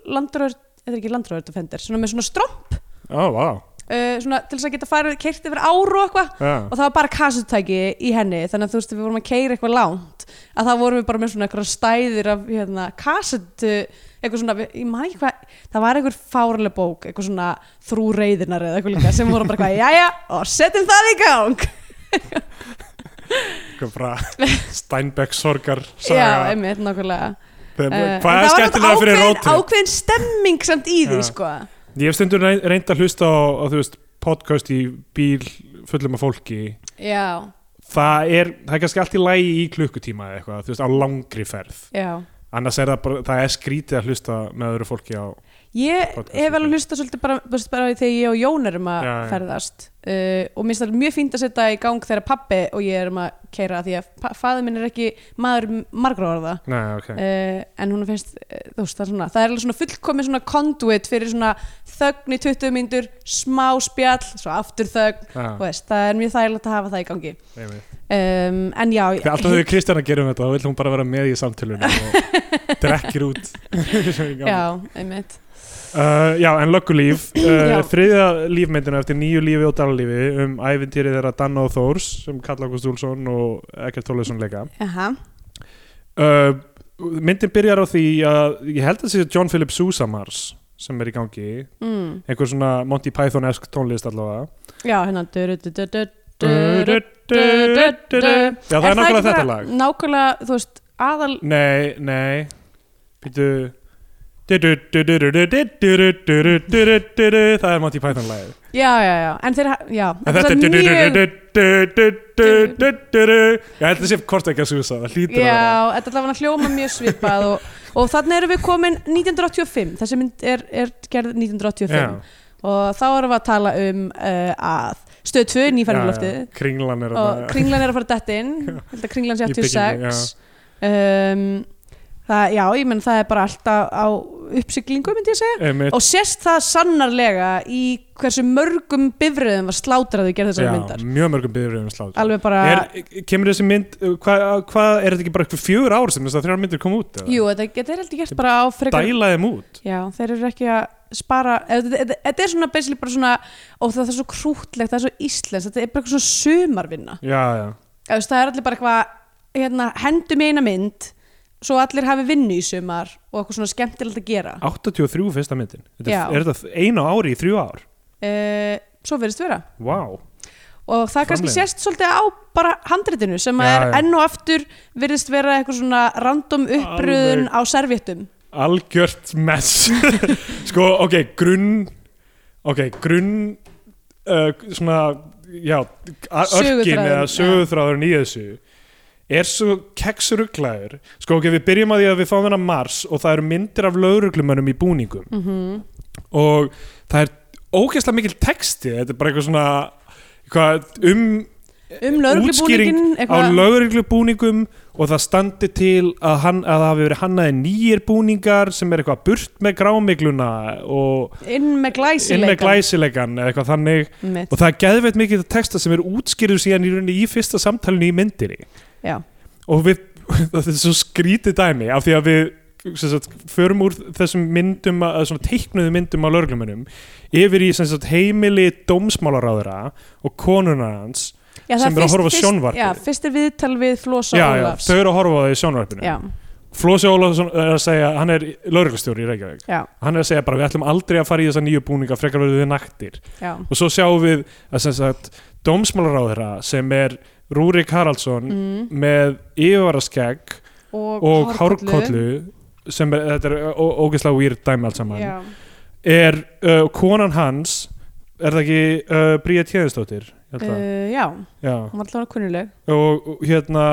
landröður, þetta er ekki landröður Defender, svona með svona stromp Ó, vá e, svona til þess að geta farið keirt yfir áru og eitthvað Já. og það var bara kassettæki í henni þannig að þú veist við vorum að keira eitthvað langt að það vorum við bara með svona eitthvað stæðir af hérna, kassettu eitthvað svona, ég maður ekki hvað það var eitthvað fárlega bók, eitthvað svona þrú reyðinar eða eitthvað líka sem voru bara eitthvað jæja og setjum það í gang Eitthvað bara Steinbeck sorgar já, saga. einmitt, nákvæmlega Þeim, Eh, en Hvað er það var skemmtilega samt fyrir ákveðin- rótrip? ákveðin stemming samt í því Já. sko Ég hef stundur reynd að hlusta á, á þú veist, podcast í bíl fullum af fólki já, það er, það er kannski allt í lægi í klukkutíma eða eitthvað, þú veist, á langri ferð já annars er það bara, það er skrítið að hlusta með öðru fólki á Ég Podcast hef líka. alveg hlustað svolítið bara, bara, bara þegar ég og Jón erum að Já, já. ferðast uh, og minnst það mjög fínt að setja í gang þegar pappi og ég erum að keira því að pa- faðir minn er ekki maður margra orða Nei, ok, uh, en hún finnst, uh, þú veist, það er svona það er alveg svona fullkomið svona conduit fyrir svona þögn í 20 myndur, smá spjall svo aftur þögn, þú já, veist, það er mjög þægilegt að hafa það í gangi Ah, einmitt um, en já, Þegar alltaf þegar Kristjana gerum um þetta þá vil hún bara vera með í samtölunum og drekkir út já, einmitt Uh, já, en löggulíf uh, Já. þriðja lífmyndina eftir nýju lífi og daglífi um æfintýri þeirra Danna og Þórs sem Karl Ágúst Úlfsson og Ekkert Tólusson leika Aha. uh, myndin byrjar á því að ég held að það sé John Philip Sousamars sem er í gangi Mm. einhver svona Monty Python-esk tónlist allavega já, hérna du- du- du- du- du- du- Já, það er nákvæmlega ekki þetta bara lag Nákvæmlega, þú veist, aðal Nei, nei Býtu Það er Monty Python lagið Já, já, já, en þeir, ha- já En þetta er mjög er Ég held að sé hvort ekki að susa Það hlýtur að vera Já, þetta er alveg hljóma mjög svipað og, og þannig erum við komin 1985 Þessi mynd er, er gerð 1985 Já, Og þá erum við að tala um uh, að Stöð 2, já, nýfærum já. um loftið Kringlan er Og þarna. kringlan er að fara dætt inn Já. Ég held að kringlan sé Í byggingu, 86 um, það, Já, ég menn það er bara alltaf á uppsiglingu, myndi ég segja Einmitt. og sérst það sannarlega í hversu mörgum bifröðum var slátraðu gerð þessari Já, myndar Mjög mörgum byrjum slátt alveg bara, er, Kemur þessi mynd Hvað hva, er þetta ekki bara eitthvað fjögur ár sem þessar þrjár myndir kom út? eða? jú, þetta, þetta er heldur gert bara á frekar Dæla þeim út já, þeir eru ekki að spara eða þetta þetta- þetta er svona basically bara svona og það, það er svo krútlegt, það er svo íslensk þetta er bara eitthvað svona sumarvinna Já, já Eða, þú veist, það er allir bara eitthvað hérna, hendum í eina mynd svo allir hafi vinnu í sumar og eitthvað svona skemmtilegt að gera 83 fyrsta myndin þetta Já. er, er þetta einu ári í þrjú ár uh, svo verðist vera Vá, og það kannski Framleiða. sést svolítið á bara handritinu sem Já, er já. enn og aftur virðist vera eitthvað svona random uppröðun á servéttum algjört mess sko, ok, grunn ok, grunn uh, svona, já a- örkin Söguþráðurinn, eða söguþráðurinn í þessu er svo keksuruglaður sko, ok, við byrjum að því að við fáum hennar mars og það eru myndir af lauruglumönnum í búningum mm -hmm. og það er ógeðslega mikil texti þetta er bara eitthvað svona eitthvað, um um útskýring lögreglubúningin á lögreglubúningum og það standi til að, hann, að það hafi verið hannaði nýjir búningar sem er eitthvað burt með grámigluna og inn með inn með glæsileika glæsilegan eða eitthvað þannig Einmitt. og það er geðveitt mikið texta sem er útskýrður síðan í rauninni í fyrsta samtalinu í myndinni Já. og við, þetta er svo skrítið dæmi af því að við sem sagt, förum úr þessum myndum að svona teiknuðu myndum á lörglumunum yfir í sem sagt, heimili dómsmálaráðura og konuna hans Já, það sem eru að fyrst- horfa á fyrst- sjónvarpið. já, fyrst er viðtal við Flosa já, já, Ólafs þau eru að horfa á það í sjónvarpinu já, Flósi Ólafsson er að segja, hann er lauruglustjóri í Reykjavík já, hann er að segja bara við ætlum aldrei að fara í þessa nýju búninga frekar verður við naktir já, og svo sjáum við að sem sagt dómsmálaráðherra sem er Rúrik Haraldsson Mm. með yfirvaraskegg og, og hárkollu sem er, þetta er ó- ógeðslega weird dæmi allt saman já, er uh, konan hans er það ekki uh, Bríja Tjöðistóttir uh, uh, já, já hún var alltaf kunnuleg og og hérna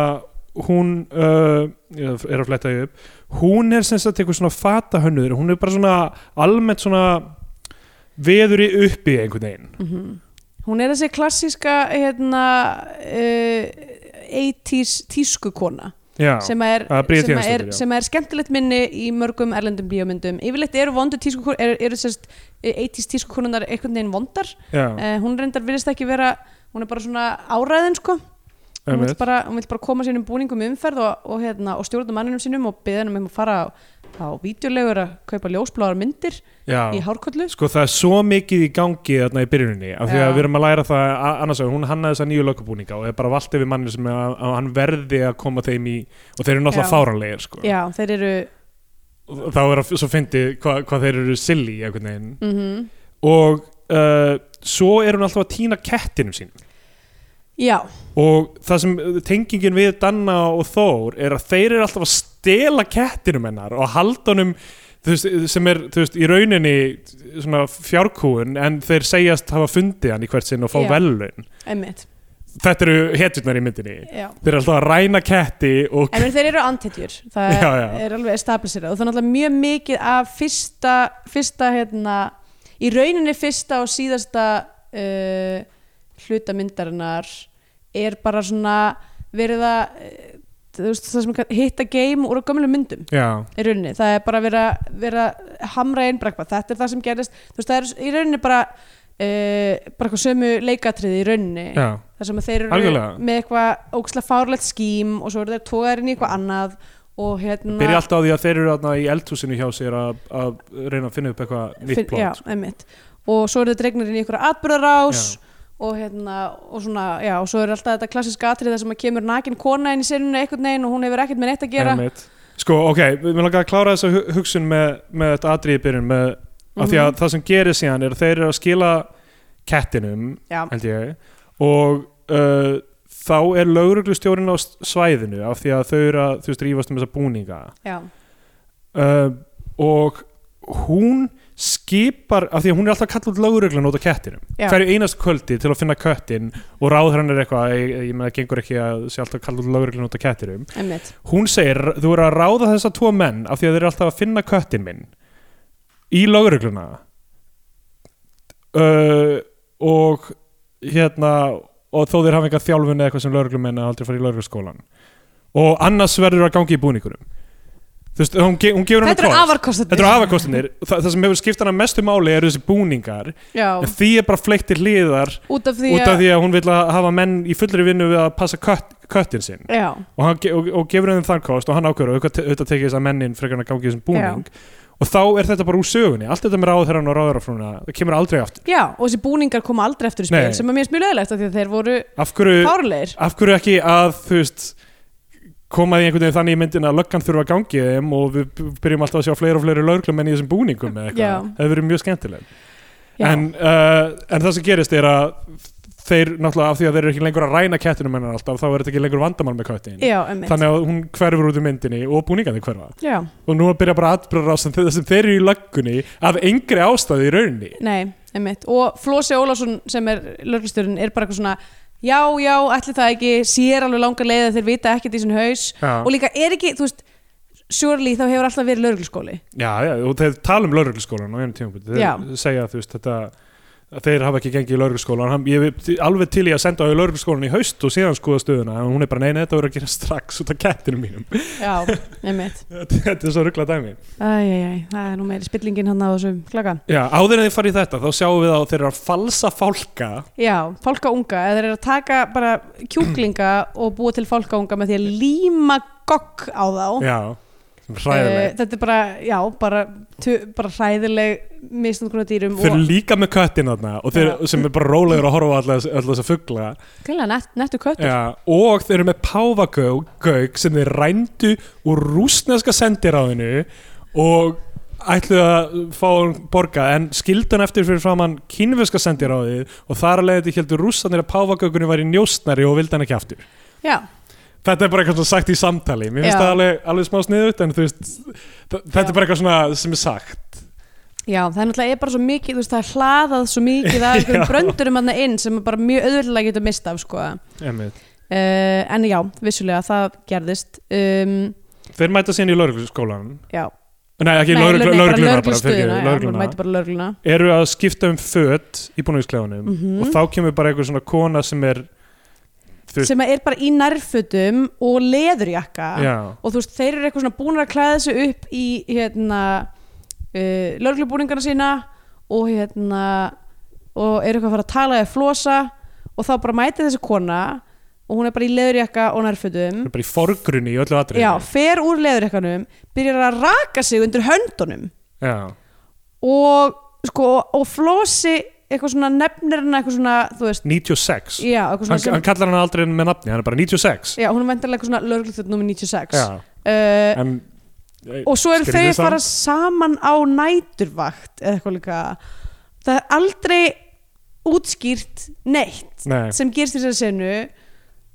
hún uh, ég er að fletta því upp hún er sem sagt eitthvað svona fatahönnuður hún er bara svona almennt svona veður í uppi einhvern veginn mm hún er eh, þessi klassíska hérna uh, 80s tískukona já, sem að er, að Bríet sem að er, Jónsdóttir, já. sem að er skemmtilegt minni í mörgum erlendum bíómyndum yfirleitt eru vondu tískukonur eru, eru e, sérst 80s tískukonunar einhvern veginn vondar já, uh, hún reyndar virðist ekki vera hún er bara svona áræðin sko hún einmitt. vil, bara, hún vil bara koma sínum búningum í umferð og, og, hérna, og stjórna manninum sínum og beða hann um að fara á, á vídeolegur að kaupa ljósbláðar myndir já. í hárkollu Sko það er svo mikið í gangi þarna í byrjuninni af því Já. að við erum að læra það a- annars að hún hannaði þessa nýju lögkabúninga og er bara vald yfir manni sem að, að hann verði að koma þeim í og þeir eru náttúrulega Já. fáranlegir sko. já, þeir eru Og þá er að svo fyndi hvað hva þeir eru silly einhvern veginn mm og uh, svo er hún alltaf að týna kettinum sínum já, og það sem uh, tengingin við Danna og Þór er að þeir eru alltaf að stela kettinum hennar og halda honum þú veist, sem er þú veist, í rauninni svona fjárkúun en þeir segjast hafa fundið hann í hvert sinn og fá Já. velun einmitt þetta eru hetjurnar í myndinni já. þeir eru alltaf að ræna ketti og en menn þeir eru antetjur það Já, já. er alveg establisherað og það er náttúrulega mjög mikið af fyrsta, fyrsta hérna, í rauninni fyrsta og síðasta uh, hluta myndarinnar er bara svona verið að uh, þú veist, það sem er kallað- hitta game úr gömlu myndum já, í rauninni, það er bara verið að vera hamra einn brakpa, þetta er það sem gerist þú veist, það er í rauninni bara uh, bara eitthvað sömu leikatriði í rauninni já, þar sem að þeir eru Algjörlega. með eitthvað ógslag fárlegt skím og svo eru þeir tóðar inn í eitthvað annað og hérna byrja alltaf á því að þeir eru þarna í eldhúsinu hjá sér að, að reyna að finna upp eitthvað nýtt Finn- plott já, sko. einmitt. og svo eru þeir dregnir inn í eitthvað atbyrðarás og hérna og svona, já, og svo eru alltaf þetta klassiska atrið þar sem að kemur nakin kona inn í sinunni einhvern veginn og hún hefur ekkert með neitt að gera Einmitt. Sko, ok, við langar að klára þessa hu- hugsun með, með þetta atriði í byrjun með, af því Mhm. að það sem gerir síðan er að þeir eru að skila kettinum já, held ég og uh, þá er lauruglustjórin á s- svæðinu af því að þau eru að þú veist rífast um þessa búninga já, uh, og hún skipar, af því að hún er alltaf að kalla út lauruglun út af kettinum, Já. hverju einast kvöldi til að finna köttin og ráð hann er eitthvað ég, ég með það gengur ekki að sé alltaf að kalla út lauruglun út af kettinum einmitt hún segir þú eru að ráða þessa tvo menn af því að þeir eru alltaf að finna köttin minn í lögregluna uh, og hérna og þó þeir hafa enga þjálfun eða eitthvað sem lögreglumenn að aldrei fara í lögregluskólan og annars verður að gangi í búningurum þú veist, hún, ge hún gefur hann þetta eru afarkostinir þetta eru afarkostinir það, það sem hefur skipt hana mestu máli eru þessi búningar en já, því er bara fleikt til hliðar út af því út af því að hún vil að hafa menn í fullri vinnu við að passa kött, köttin sinn já, og, hann, ge- og, og gefur henni þann kost og hann ákveður að auðvitað auðvitað tekið þess að mennin frekar hann að gangi í þessum búning og þá er þetta bara úr sögunni, allt þetta með ráðherran og ráðherrafrúna það kemur aldrei aftur, já, og þessi búningar koma aldrei eftir í spil Nei. sem er mér smiluðilegt af því að þeir voru af hverju, fárleir af hverju ekki að þú veist koma því einhvern veginn þannig í myndin að löggan þurfa að gangi í þeim og við b- byrjum alltaf að sjá fleiri og fleiri löglum enn í þessum búningum eða Já. eitthvað, það hefur verið mjög skemmtileg Já. en, uh, en það sem gerist er að þeir náttúrulega af því að þeir eru ekki lengur að ræna kettinum hennar alltaf þá er þetta ekki lengur vandamál með köttin já, einmitt þannig að hún hverfur út í myndinni og búningandi hverfa já, og nú að byrja bara atbyrðarás sem, sem þeir eru í löggunni af engri ástæði í rauninni Nei, einmitt. Og Flósi Ólásson sem er löglistjórinn er bara eitthvað svona já, já, allir það ekki, sér alveg langar leið að þeir vita ekkert í sinn haus Já. og líka er ekki, þú veist surely þá hefur alltaf verið lögreglskóli já, já, og þeir tala um laurugluskólan á einu tímapunkti, þeir Já. segja þú veist þetta að þeir hafa ekki gengið í laurugluskólan Hann- ég er alveg til í að senda á laurugluskólan í haust og síðan skoða stöðuna, en hún er bara neina þetta voru að gera strax út af kettinum mínum Já, einmitt þetta er svo ruggla dæmi Æ, æ, æ, það er nú meiri spillingin hann á þessum klaka já, áður en þið farið í þetta, þá sjáum við að þeir eru að falsa fálka Já, fálkaunga, eða þeir eru að taka bara kjúklinga og búa til fálkaunga með því að líma gogg á þá já, Eh, hræðileg Þetta er bara, já, bara, tu- bara hræðileg misnútkunar dýrum þeir eru og líka með köttin þarna og þeir Já. sem er bara rólegur að horfa á alla þess- alla þess að fugla gæla nett, nettu köttur Já, og þeir eru með páfagauk sem þeir rændu úr rúsneska sendiráðinu og ætluðu að fá hann borga en skildan eftir fyrir framann kínveska sendiráðið og þar að leiði heldur rússanir að páfagaukunni var í njóstnari og vildi hann ekki aftur. Já, Þetta er bara eitthvað svona sagt í samtali, mér finnst Já. það alveg, alveg smá sniðut en þú veist, þa- þetta er bara eitthvað svona sem er sagt. Já, það er náttúrulega er bara svo mikið, þú veist, það er hlaðað svo mikið af einhverjum Já. bröndurum hann inn sem er bara mjög auðvitað getur mistað, sko. Uh, Einmitt. en já, vissulega, það gerðist. Um, Þeir mæta síðan í laurugluskólan, já. nei ekki Nei, lauruglunar nei, bara bara, bara, lögreglustöðina, fyrirgefðu, já, lögregluna. hún mæti bara lögregluna. eru að skipta um föt í búnaðisklefanum Mhm. og þá kemur bara einhver svona kona sem er Þú veist- sem að er bara í nærfötum og leðurjakka já, og þú veist, þeir eru eitthvað svona búin að klæða sig upp í hérna uh, lörglubúningarna sína og hérna og eru eitthvað að fara að tala eða flosa og þá bara mæti þessi kona og hún er bara í leðurjakka og nærfötum það er bara í forgrunni í öllu atriðinu. já, fer úr leðurjakkanum byrjar að raka sig undir höndunum já, og sko, og flosi eitthvað svona nefnir hana eitthvað svona þú veist, 96 já, eitthvað hann, svona sem hann kallar hann aldrei með nafni, hann er bara 96 já, hún er vendarlega eitthvað svona lörglutut nummer 96 já, uh, en og svo eru þau Skrýtið að fara saman á næturvakt eða eitthvað líka það er aldrei útskýrt neitt nei, sem gerist í þessari senu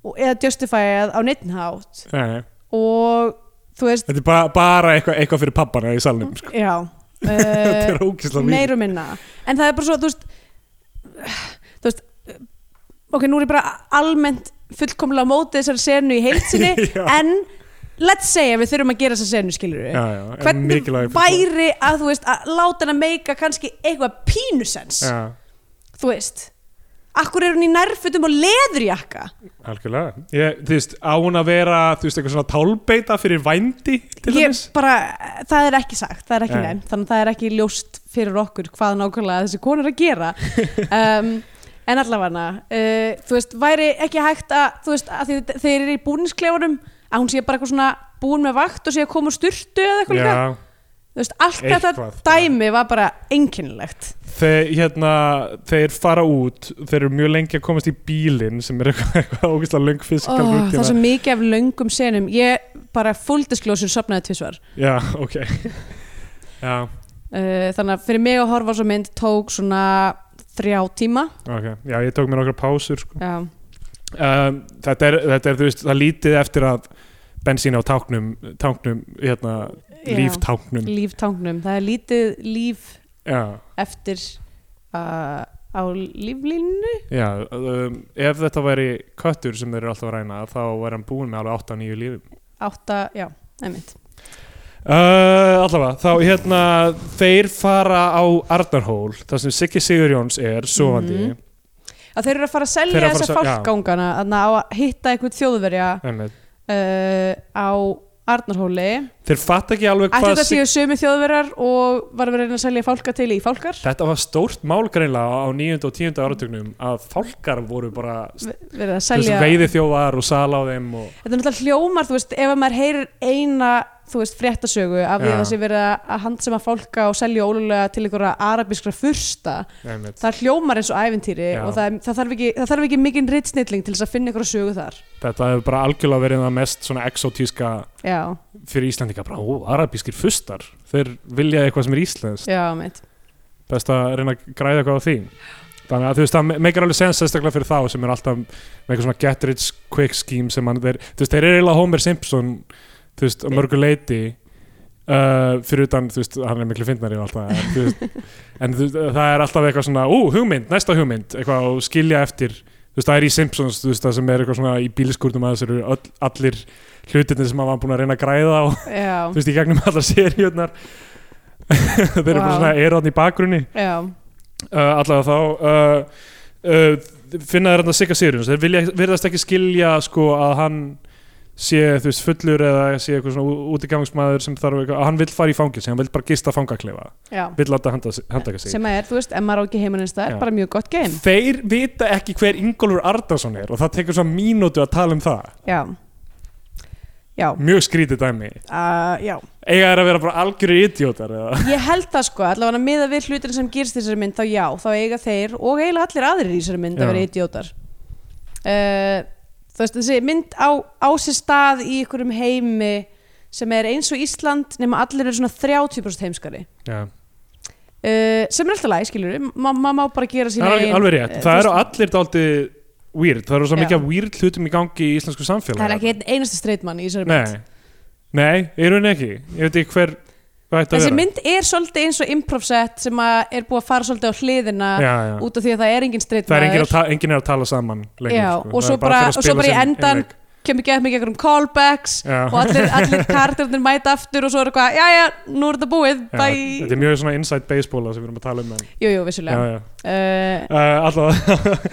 og- eða justified á neittn hátt nei, og þú veist þetta er bara, bara eitthvað, eitthvað fyrir pappana í salnum sko. já uh, þetta er ókislega meir og minna en það er bara svo þú veist, þú veist ok, nú er ég bara almennt fullkomlega á móti þessari senu í heilsinni Já. en let's say að við þurfum að gera þessa senu skilur við já, já, en hvernig mikilvæg- væri að þú veist að láta hann að meika kannski eitthvað pínusens, já, þú veist akkur er hún í nærfutum og leðurjakka algjörlega ég, þú veist, á hún að vera þú veist, eitthvað svona tálbeita fyrir vændi til ég dæmis bara, það er ekki sagt það er ekki Nei. nefnt, þannig að það er ekki ljóst fyrir okkur hvað nákvæmlega þessi konur er að gera um, en allavega uh, þú veist, væri ekki hægt að þú veist, að þið, þeir eru í búningsklefunum að hún sé bara eitthvað svona búin með vakt og sé að koma úr sturtu eða eitthvað líka já, þú veist, allt þetta Eitthvað, dæmi var bara einkennilegt þeir, hérna, þeir fara út þeir eru mjög lengi að komast í bílinn sem er eitthvað, eitthvað ógeðslega löng fysikal oh, það er svo mikið af löngum senum ég bara full disclosure sopnaði tvisvar já, ok já, uh, þannig að fyrir mig að horfa á svo mynd tók svona þrjá tíma ok, já, ég tók mér nokkra pásur sko. já, um, þetta, er, þetta er, þú veist, það lítið eftir að bensín á táknum, táknum hérna, Já. líftáknum líftangnum, það er lítið líf já, eftir uh, á líflínu já um, ef þetta væri köttur sem þeir eru alltaf að ræna þá væri hann búinn með alveg 8-9 lífum átta, já, einmitt Uh, allavega, þá hérna þeir fara á Arnarhól þar sem Siggi Sigurjóns er sofandi Mhm. að þeir eru að fara að Þeir selja eru að fara þessa að sel- já. fólkgangana þannig á að hitta einhvern þjóðverja uh, Einmitt. á Arnarhóli þeir fatt ekki alveg ætti hvað þetta séu sömu þjóðverjar og var að vera að selja fálka til í fálkar þetta var stórt mál greinlega á 9. og 10. áratugnum að fálkar voru bara Ve- verið að selja... selja veiði þjóðar og sala á þeim og þetta er náttúrulega hljómar, þú veist, ef að maður heyrir eina, þú veist, fréttasögu af því Já. að það sé verið að að handsama fólka og selja ólulega til einhverja arabiskra fursta einmitt, það er hljómar eins og ævintýri Já. og það, er- það, þarf ekki, það þarf ekki mikinn ritsnilling til þess að finna einhverja sögu þar þetta hefur bara algjörlega verið það mest svona exotíska já, fyrir Íslandinga bara, ó, arabískir fustar þeir vilja eitthvað sem er íslenskt já, mitt best að reyna að græða eitthvað á því þannig að þú veist, það me- meikar alveg sens sérstaklega fyrir þá sem er alltaf með eitthvað svona get rich quick scheme sem hann, þeir, þú veist, þeir eru eiginlega Homer Simpson, þú veist, að mörgu leiti uh, fyrir utan, þú veist, hann er miklu fyndnari og alltaf en, þú veist, en þú, veist, það er alltaf eitthvað svona, ú, hugmynd, næsta hugmynd eitthvað og skilja eftir, þú veist, það er í Simpsons þú veist, það sem er eitthvað svona í bílskúrnum að þessu eru öll, allir hlutinni sem hann var búin að reyna að græða og já, þú veist, í gegnum allar seríurnar þeir eru bara Vá. svona eróðn í bakgrunni já, uh, allavega þá uh, uh, finna þeir hann að sigga Sigurjóns þeir vilja, virðast ekki skilja sko að hann sé þú veist fullur eða sé eitthvað svona útigangsmaður sem þarf eitthvað, að hann vill fara í fangelsi, hann vill bara gista fangaklefa, já vill láta handa, handaka sig sem að er, þú veist, ef maður á ekki heimanins það Já. er bara mjög gott game þeir vita ekki hver Ingólfur Ardarsson er og það tekur svona mínútu að tala um það já, já, mjög skrítið dæmi, uh, já eiga þeir að vera bara algjörir idiotar eða, Ég held það sko, allavega miða við hlutin sem gerist í þessari mynd þá já, þá eiga þeir og eiginlega allir aðrir í þessari mynd Já. að vera idiotar uh, Þú veist, þessi mynd á, á sér stað í einhverjum heimi sem er eins og Ísland nema allir eru svona 30% heimskari já uh, sem er alltaf læg, skilur við, maður má bara gera sína Það er alveg- eigin- alveg eh, rétt, þú það veist, eru allir dálítið weird, það eru svo Já. mikið af weird hlutum í gangi í íslensku samfélagi Það er ekki einn einasti streitmann í þessari mynd Nei, nei, í rauninni ekki Ég veit ekki hver, hvað ætti að Þessi vera mynd er svolítið eins og improvsett sem að er búið að fara svolítið á hliðina já, já. út af því að það er engin Það er engin, streitmaður að ta- engin er að tala saman lengur, Já, sko. og Það svo er bara- allir og að svo spila bara í sinn endan- einleik. kemur ekki eftir mikið einhverjum callbacks Já. og allir, allir karakterarnir mæta aftur og svo er eitthvað, jæja, nú er þetta búið Já, Þetta bæ, er mjög svona inside baseball það sem við erum að tala um en, jú, jú, já, vissulega já. uh,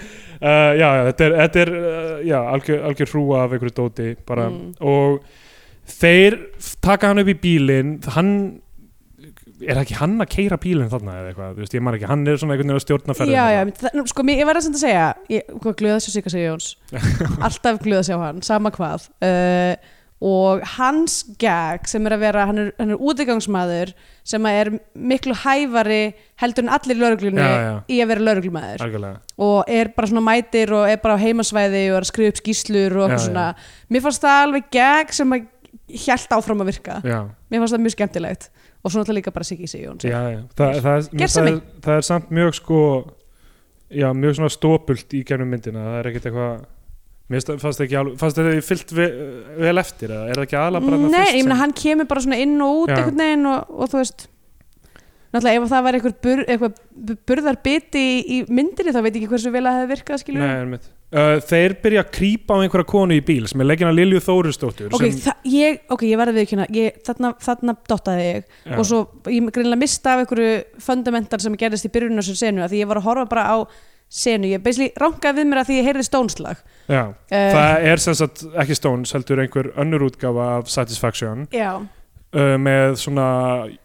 Uh, Alltaf uh, já, já, þetta er, þetta er uh, já, algjör, algjör hrúa af einhverju dóti bara, Mm. og þeir taka hann upp í bílinn hann er ekki hann að keira bílinn þarna eða eitthvað, þú veist, ég man ekki, hann er svona einhvern veginn að stjórna ferðin já, já, það, nú, sko, mér, ég var að senda að segja ég, hvað glöða sjá Sigga segja Jóns alltaf glöða sjá hann, sama hvað uh, og hans gag sem er að vera, hann er, hann er útigangsmaður sem að er miklu hæfari heldur en allir lögreglunni Já, já. í að vera lögreglumæður algjörlega, og er bara svona mætir og er bara á heimasvæði og er að skrifa upp skýslur og Já, eitthvað já. svona mér fannst það alveg gag sem að hjælt áfram að virka já, mér fannst það mjög skemmtilegt og svo náttúrulega líka bara Siggi Sigjóns já, já. Þa, það, það, Gerðu er- það, sem er, það er samt mjög sko já, mjög svona stópult í gennum myndina, það er ekkert eitthvað Mér finnst það- fannst það ekki alveg, fannst þetta fyllt vel, vel eftir eða er það ekki aðla bara þarna Nei, fyrst ég sem- meina hann kemur bara svona inn og út Já. einhvern veginn og, og þú veist náttúrulega ef það var einhver, bur, einhver bu- burðarbiti í, í myndinni þá veit ég ekki hversu vel að það virkað skilur Nei, einmitt. uh, þeir byrja að krýpa á einhverja konu í bíl sem er leggina Lilju Þórisdóttur Ok, sem, það, ég, ok, ég verði við ekki þarna, þarna dottaði ég Já. og svo ég greinlega mista af einhverju fundamental sem gerðist í byrjunum þessu senu að því ég var að horfa bara á senu ég beisli rankaði við mér að því ég heyrði stónslag já, uh, það er sem sagt ekki Stones heldur einhver önnur útgáfa af Satisfaction Já, uh, með svona,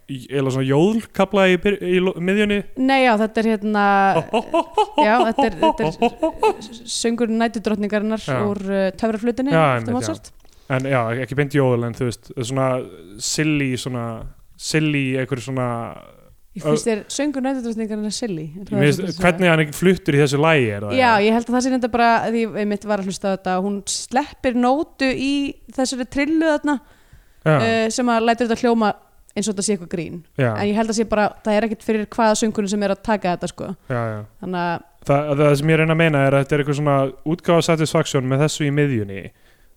eða svona jóðlkabla í, byr- í lo- miðjunni nei já, þetta er hérna Já, þetta er, þetta er söngur nætudrottningarinnar Já. úr uh, töfraflutinni Já, eftir einmitt, Mozart. en já, ekki beint jóðl en þú veist, svona silly svona, silly einhver svona Ég finnst þér söngur nætudrottningarinnar silly. er það mér, það sem þú ert finnst- að segja? hvernig hann ekki fluttur í þessu lægi er það Já, ég held að það sé nefnda bara, því ég mitt var að hlusta á þetta, hún sleppir nótu í þessari trillu þarna já, uh, sem að lætur þetta hljóma eins og þetta sé eitthvað grín. já, En ég held að sé bara, það er ekkit fyrir hvaða söngunum sem er að taka þetta sko. já, já. Þannig að, Þa, það sem ég reyna að meina er að þetta er eitthvað svona útgáfa satisfaction með þessu í miðjunni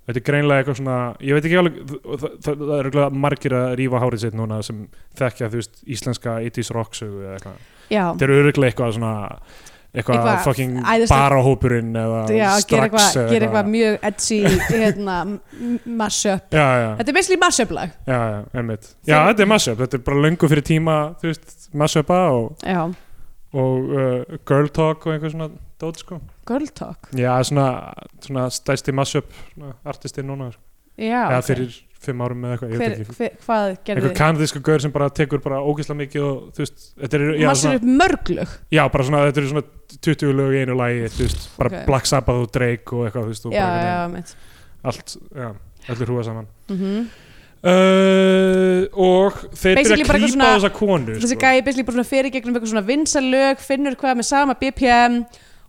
þetta er greinlega eitthvað svona ég veit ekki alveg, það, það, það er eitthvað margir að rífa hárið sitt núna sem þekkja þú veist íslenska 80s rocksögu eða eitthvað já, þetta er öruglega eitthvað svona eitthvað, Mm. Eitthvað fucking æðislegt- barahópurinn eða já, gera strax eitthvað, eða gera eitthvað mjög edgy, hérna, m- mashup. Já, já, Þetta er basically mashup lag. já, já, einmitt Já, þetta er mashup, þetta er bara löngu fyrir tíma þú veist, mashupa og, Já, og uh, girl talk og einhver svona dót sko girl talk. Já, svona, svona stæsti mashup svona artistinn núna sko. Já, eða ok. fyrir fimm árum eða eitthvað, ég hver, veit ekki hver, hvað gerði einhver kanadísku gaur sem bara tekur bara ógeðslega mikið og þú veist, þetta er já, massir svona, upp mörglög já, bara svona, þetta eru svona 20 lög í einu lagi, þú veist, bara Ok. Black Sabbath og Drake og eitthvað, þú veist, og já, bara já, einhvern mitt veginn allt, já, öllu hrúa saman mm -hmm. uh, og þeir Basically byrja bara eitthvað að krýpa á svona- þessa konu sko. þessi gæi basically bara svona fyrir gegnum eitthvað svona vinsalög finnur hvað með sama BPM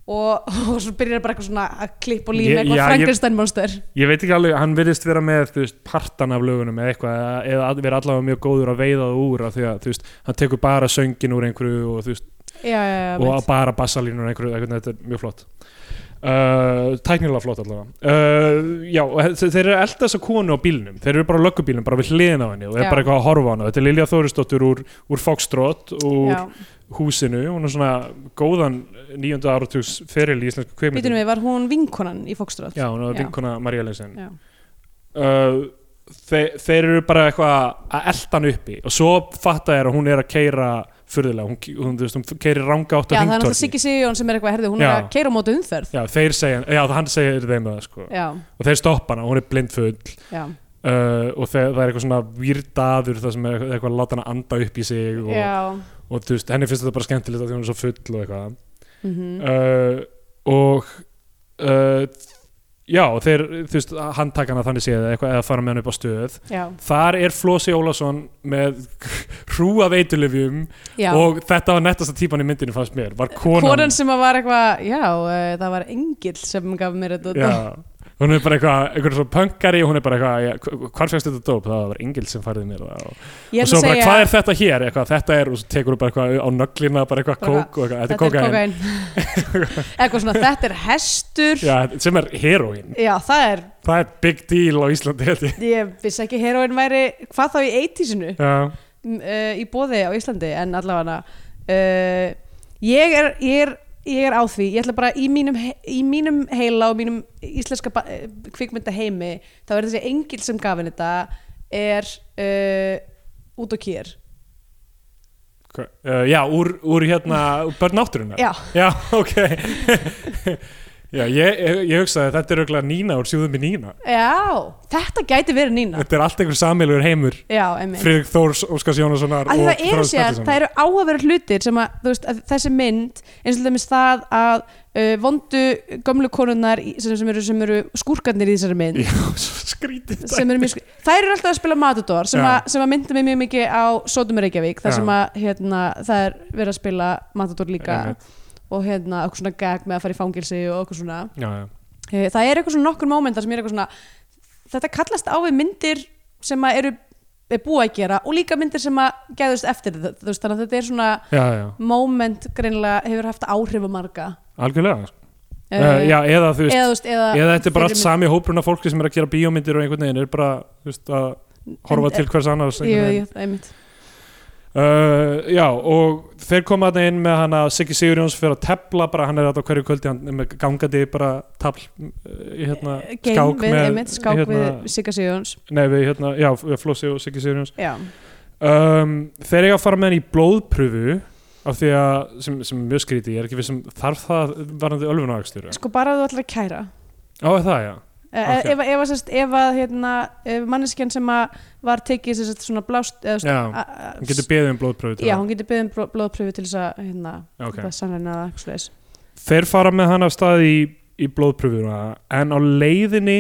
og, og svo byrjar bara eitthvað svona að klippa og lína Ég- já, eitthvað ég- Frankenstein monster ég veit ekki alveg, hann virðist vera með þú veist, partan af lögunum eða eitthvað eða- eða að- vera allavega mjög góður að veiða það úr af því að þú veist, hann tekur bara söngin úr einhverju og þú veist, já, já, já, og mitt að bara bassalínur einhverju, einhverju, þetta er mjög flott uh, tæknilega flott allavega uh, já, og þe- þeir eru að elda þessa konu á bílnum, þeir eru bara á löggubílnum bara við hliðin á henni og er Já. bara eitthvað að horfa á hana þetta er Lilja Þórisdóttur úr, úr Foxtrot úr já, húsinu, hún er svona góðan nýjönda áratugs feril í íslensku býtum kveikmyndum við, var hún vinkonan í Foxtrot já, hún er Já. vinkona María Leysin já, uh, þeir, þeir eru bara eitthvað að elta hann uppi og svo fatta er að hún er að keira furðulega, hún, hún, þú veist, hún keirir ranga átt já það á er náttúrulega hringtorgi Siggi Sigurjón sem er eitthvað herði, hún Já. er að keira á móti umferð já, þeir segja, já, hann segir þeim það sko. já, og þeir stoppa hana, hún er blindfull já, uh, og þeir, það er eitthvað svona výrdaður það sem er eitthvað- eitthvað að láta hana anda upp í sig og, já og þú veist, henni finnst þetta bara skemmtilegt af því hún er svo full og eitthvað mhm. uh, og uh, já, þeir, þú veist, handtakana þannig séð eða eitthvað, eða fara með hann upp á stöð já, Þar er Flósi Ólason með hrúa veitulifjum já og þetta var nettasta típan í myndinu fannst mér, var konan, konan sem að var eitthvað, já, eh, það var engill sem gaf mér þetta já, hún er bara eitthvað, eitthvað svo pöngari og hún er bara eitthvað, ja, hv- hvar fegst þetta dóp? Það var Engil sem færði mér það Ég og, og ætla svo að bara, segja- hvað er þetta hér? Eitthvað, þetta er, og svo tekur hún bara eitthvað á nöglina, bara eitthvað Bara kók og eitthvað, þetta er þetta kokain, er kokain eitthvað svona, þetta er hestur já, já, sem er heroín það er, það er big deal á Íslandi held ég. ég vissi ekki heroin væri, hvað þá í 80-sinu uh, Já, eh, í bóði á Íslandi en allavega uh, ég, er, ég, er, ég er á því ég ætla bara í mínum, he- í mínum heila og mínum íslenska ba- eh, kvikmynda heimi þá er þessi engil sem gaf henni þetta er uh, út og kér hva- uh, já úr, úr hérna, úr börn átturinnar Já. já ok Já, ég, ég, ég hugsaði að þetta er auðvitað Nína úr sjúðum í Nína Já, þetta gæti verið Nína Þetta er allt einhver samilur heimur Já, emmi Friðrik Þórs, Óskars Jónassonar að og því það eru Þráins sér, það Petterssonar. eru áhugaverð hlutir sem að, þú veist, að þessi mynd eins og dæmis það að uh, vondu gömlu konunnar í- sem, sem, eru, sem eru skúrkarnir í þessari mynd Já, svo skrítið sem eru mjög skri- þær eru alltaf að spila Matador sem, Já. að, sem að myndi mig mjög mikið á Sodom og Reykjavík þar Já. sem að hérna, það er verið að spila Matador líka Einmitt. og hérna okkur svona gag með að fara í fangilsi og okkur svona Já, já, Eh, það er eitthvað svona nokkur mómentar sem er eitthvað svona þetta kallast á við myndir sem að eru er búið að gera og líka myndir sem að gæðust eftir þetta þú veist, þannig að þetta er svona já, já, moment greinilega hefur haft áhrif á marga algjörlega Eh, uh, Já, eða þú veist eða, þú veist, eða, Eða þetta er bara allt fyrri sami hópurinn af fólki sem er að gera bíómyndir og einhvern veginn er bara, þú veist, að mynd- horfa en- eh, til hvers annars jú, einhvern veginn. jú, einmitt. Uh, já, og þeir koma þarna inn með hana Siggi Sigurjóns fyrir að tepla bara, hann er þetta á hverju kvöldi, hann er með gangandi bara tapl uh, í hérna, Eh, Game skák við, með einmitt, skák hérna, við Sigga Sigjóns Nei, við hérna, já, við Flósi og Siggi Sigurjóns já, um, Þeir eiga að fara með hann í blóðpröfu af því að, sem, sem er mjög skríti ég er ekki við sem þarf það varandi ölfunaakstur sko bara að þú ætlar að kæra Á, er það, já okay. Ok. ef, ef, ef, sest, ef að hérna, manneskjan sem að var tekið sem sagt, svona blást eða, þú veist, Já, a- a- Hún getur beðið um blóðpröfu til Já, það. hún getur beðið um blóðpröfu til þess að hérna, Ok. okay. sannleina eða eitthvað slags Þeir fara með hann af stað í, í blóðpröfuna en á leiðinni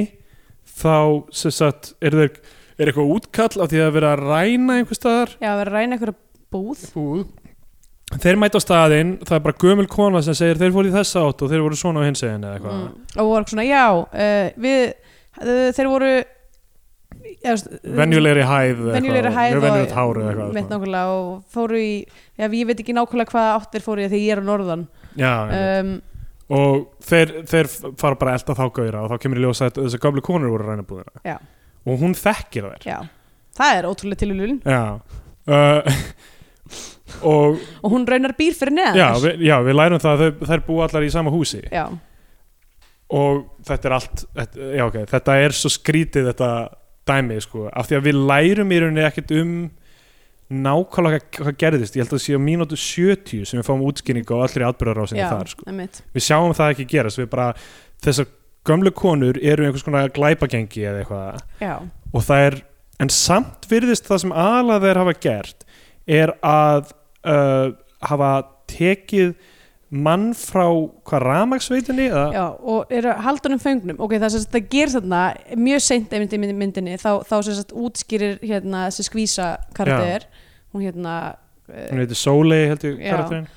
þá sem sagt, er, þeir, er eitthvað útkall af því að vera að ræna einhver staðar Já, við erum að ræna einhverja búð Búð. Þeir mæta á staðinn, það er bara gömul kona sem segir þeir fóru í þessa átt og þeir voru svona á hins eginni eða eitthvað. mm, og voru svona, já uh, við, uh, þeir voru ja, Venjulegri hæð eða venjulegri eitthvað, hæð mjög venjulegt hár eða eitthvað. mitt svona. nákvæmlega og fóru í já, ég veit ekki nákvæmlega hvaða áttir fóru í þegar ég er á norðan Já, já. um, og þeir, þeir fara bara að elda þá gauðra og þá kemur í ljós að þessi gömlu konur voru að ræna búðina. Já. Og hún þekkir þær. já, það er ótrúlega tilhjulun Já. Uh, og og hún raunar býr fyrir neðan já, við, já, við lærum það að þau- þær búa allar í sama húsi já, og þetta er allt þetta, já, okay, þetta er svo skrítið þetta dæmi sko, af því að við lærum í rauninni ekkert um nákvæmlega hvað- hvað gerðist, ég held að það sé á mínútu 70 sem við fáum útskýring á allri atbyrðarásinni já, þar, sko. einmitt við sjáum það ekki gerast við bara, þessar gömlu konur eru einhvers konar glæpagengi eða eitthvað já, og það er, en samt virðist það sem alað þeir hafa gert er að uh, hafa tekið mann frá hvað ramagsveitinni eða, Já, og eru haldunum föngnum ok, það, sem sagt, það ger þarna mjög seint einmitt í mynd- myndinni þá, þá sem sagt útskýrir hérna þessi skvísa karakter hún hérna uh, hún heitir Sólei held ég Já. karakterinn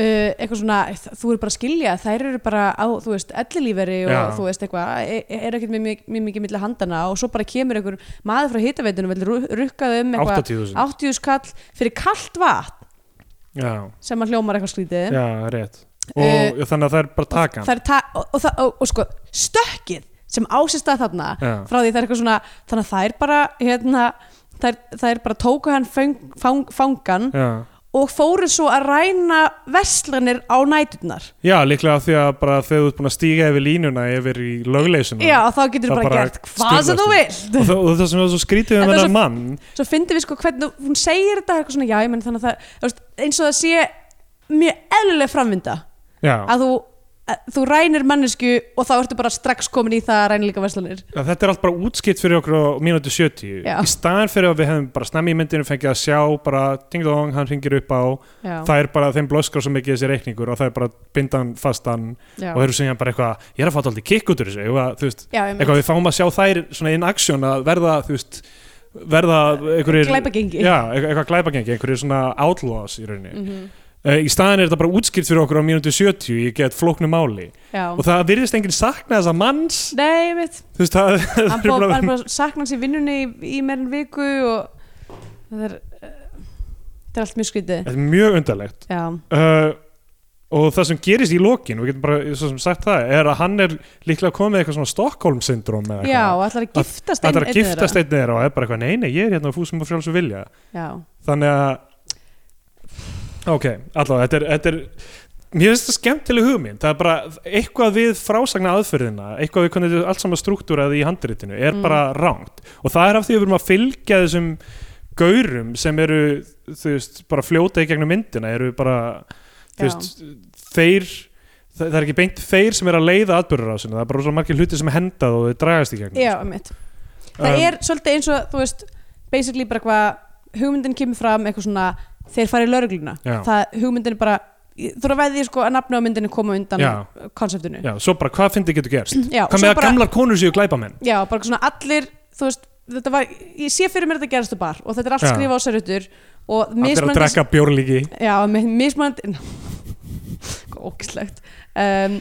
eitthvað svona, þ- þú eru bara að skilja þær eru bara á, þú veist, ellilíferi og Já. þú veist eitthvað, e- e- eru ekkert mjög mjög- mjög mikið milli handana og svo bara kemur einhver maður frá hitaveitunum, vel rukkað um eitthvað 80.000 80 skall fyrir kalt vatn já, sem að hljómar eitthvað skrítið já, rétt og þannig að það er bara taka Eh, það er ta og, og, og, og, og sko, stökkið sem ásist að þarna Já. frá því það er eitthvað svona þannig að það er bara hérna, það, er, það er bara tóku hann fang, fang, fangan já. og fóru svo að ræna verslanir á næturnar já, líklega af því að bara þegar þú ert búin að stíga yfir línuna yfir í lögleysuna já og þá getur Það þú bara, bara gert hvað sem þú og, vilt það, og það sem var svo skrítið um Þetta er þennan svo- mann svo fyndum við sko hvernig hún segir þetta eitthvað svona já ég menn þannig að það þú veist, eins og það sé mjög eðlileg framvinda já, að þú að þú rænir mannesku og þá ertu bara strax komin í það að ræna líka verslanir að þetta er allt bara útskipt fyrir okkur á mínútu 70 Já. í staðan fyrir að við hefum bara snemmi í myndinu fengið að sjá bara ding-dong, hann ringir upp á já, það er bara, þeim blöskar svo mikið þessi reikningur og það er bara bindan fastan já. og þeir eru segja bara eitthvað, ég er að fatta aldrei kikk út úr þessu eitthvað, þú veist, Já, einmitt. eitthvað við fáum að sjá þær svona in action að verða, þú veist verða einhverjir Glæpagengi. já, eitthvað- eitthvað glæpagengi, einhverjir svona outlaws í rauninni mm Mhm. í staðan er þetta bara útskipt fyrir okkur á mínútu 70 ég get flóknu máli Já. og það virðist enginn sakna þessa manns Nei, mitt, þú veist, það, það hann er búið bara- bara að sakna hans í vinnunni í, í meirinn viku og það er, uh, það er allt mjög skrítið. Þetta er mjög undarlegt Já, uh, og það sem gerist í lokin við getum bara, svo sem sagt það, er að hann er líklega komið með eitthvað svona Stockholm syndrom eða já, eitthvað, og ætlar að giftast það er að einni þeirra. giftast einn þeirra og er bara eitthvað, nei, nei, ég er hérna á fúsum og frjálsum vilja Já, þannig að ok, allavega, þetta er, þetta er mér finnst þetta skemmtileg hugmynd það er bara eitthvað við frásagna aðferðina eitthvað við hvernig þetta er allt saman struktúraði í handritinu er Mm. bara rangt og það er af því að við erum að fylgja þessum gaurum sem eru þú veist, bara fljóta í gegnum myndina eru bara þú Já. veist, þeir það, það er ekki beint þeir sem er að leiða atbyrðurásinu, það er bara svo margir hluti sem henda og þau dragast í gegnum já, mitt það Um, er svolítið eins og, þú veist basically bara hvað hugmyndin kemur fram eitthvað svona, þeir fara í laurugluna Já. það hugmyndin er bara ég- þú er að veðið sko að nafna á myndinni koma undan Já. konseptinu Já, svo bara hvað fyndi getur gerst Já, hvað Mm. svo með að bara- gamlar konur séu glæpamenn já, bara svona allir þú veist, þetta var, ég sé fyrir mér þetta gerast og bar og þetta er allt Já. skrifa á sérutur og allir að mismunandi drekka bjórlíki já, með mismunandi ógislegt um,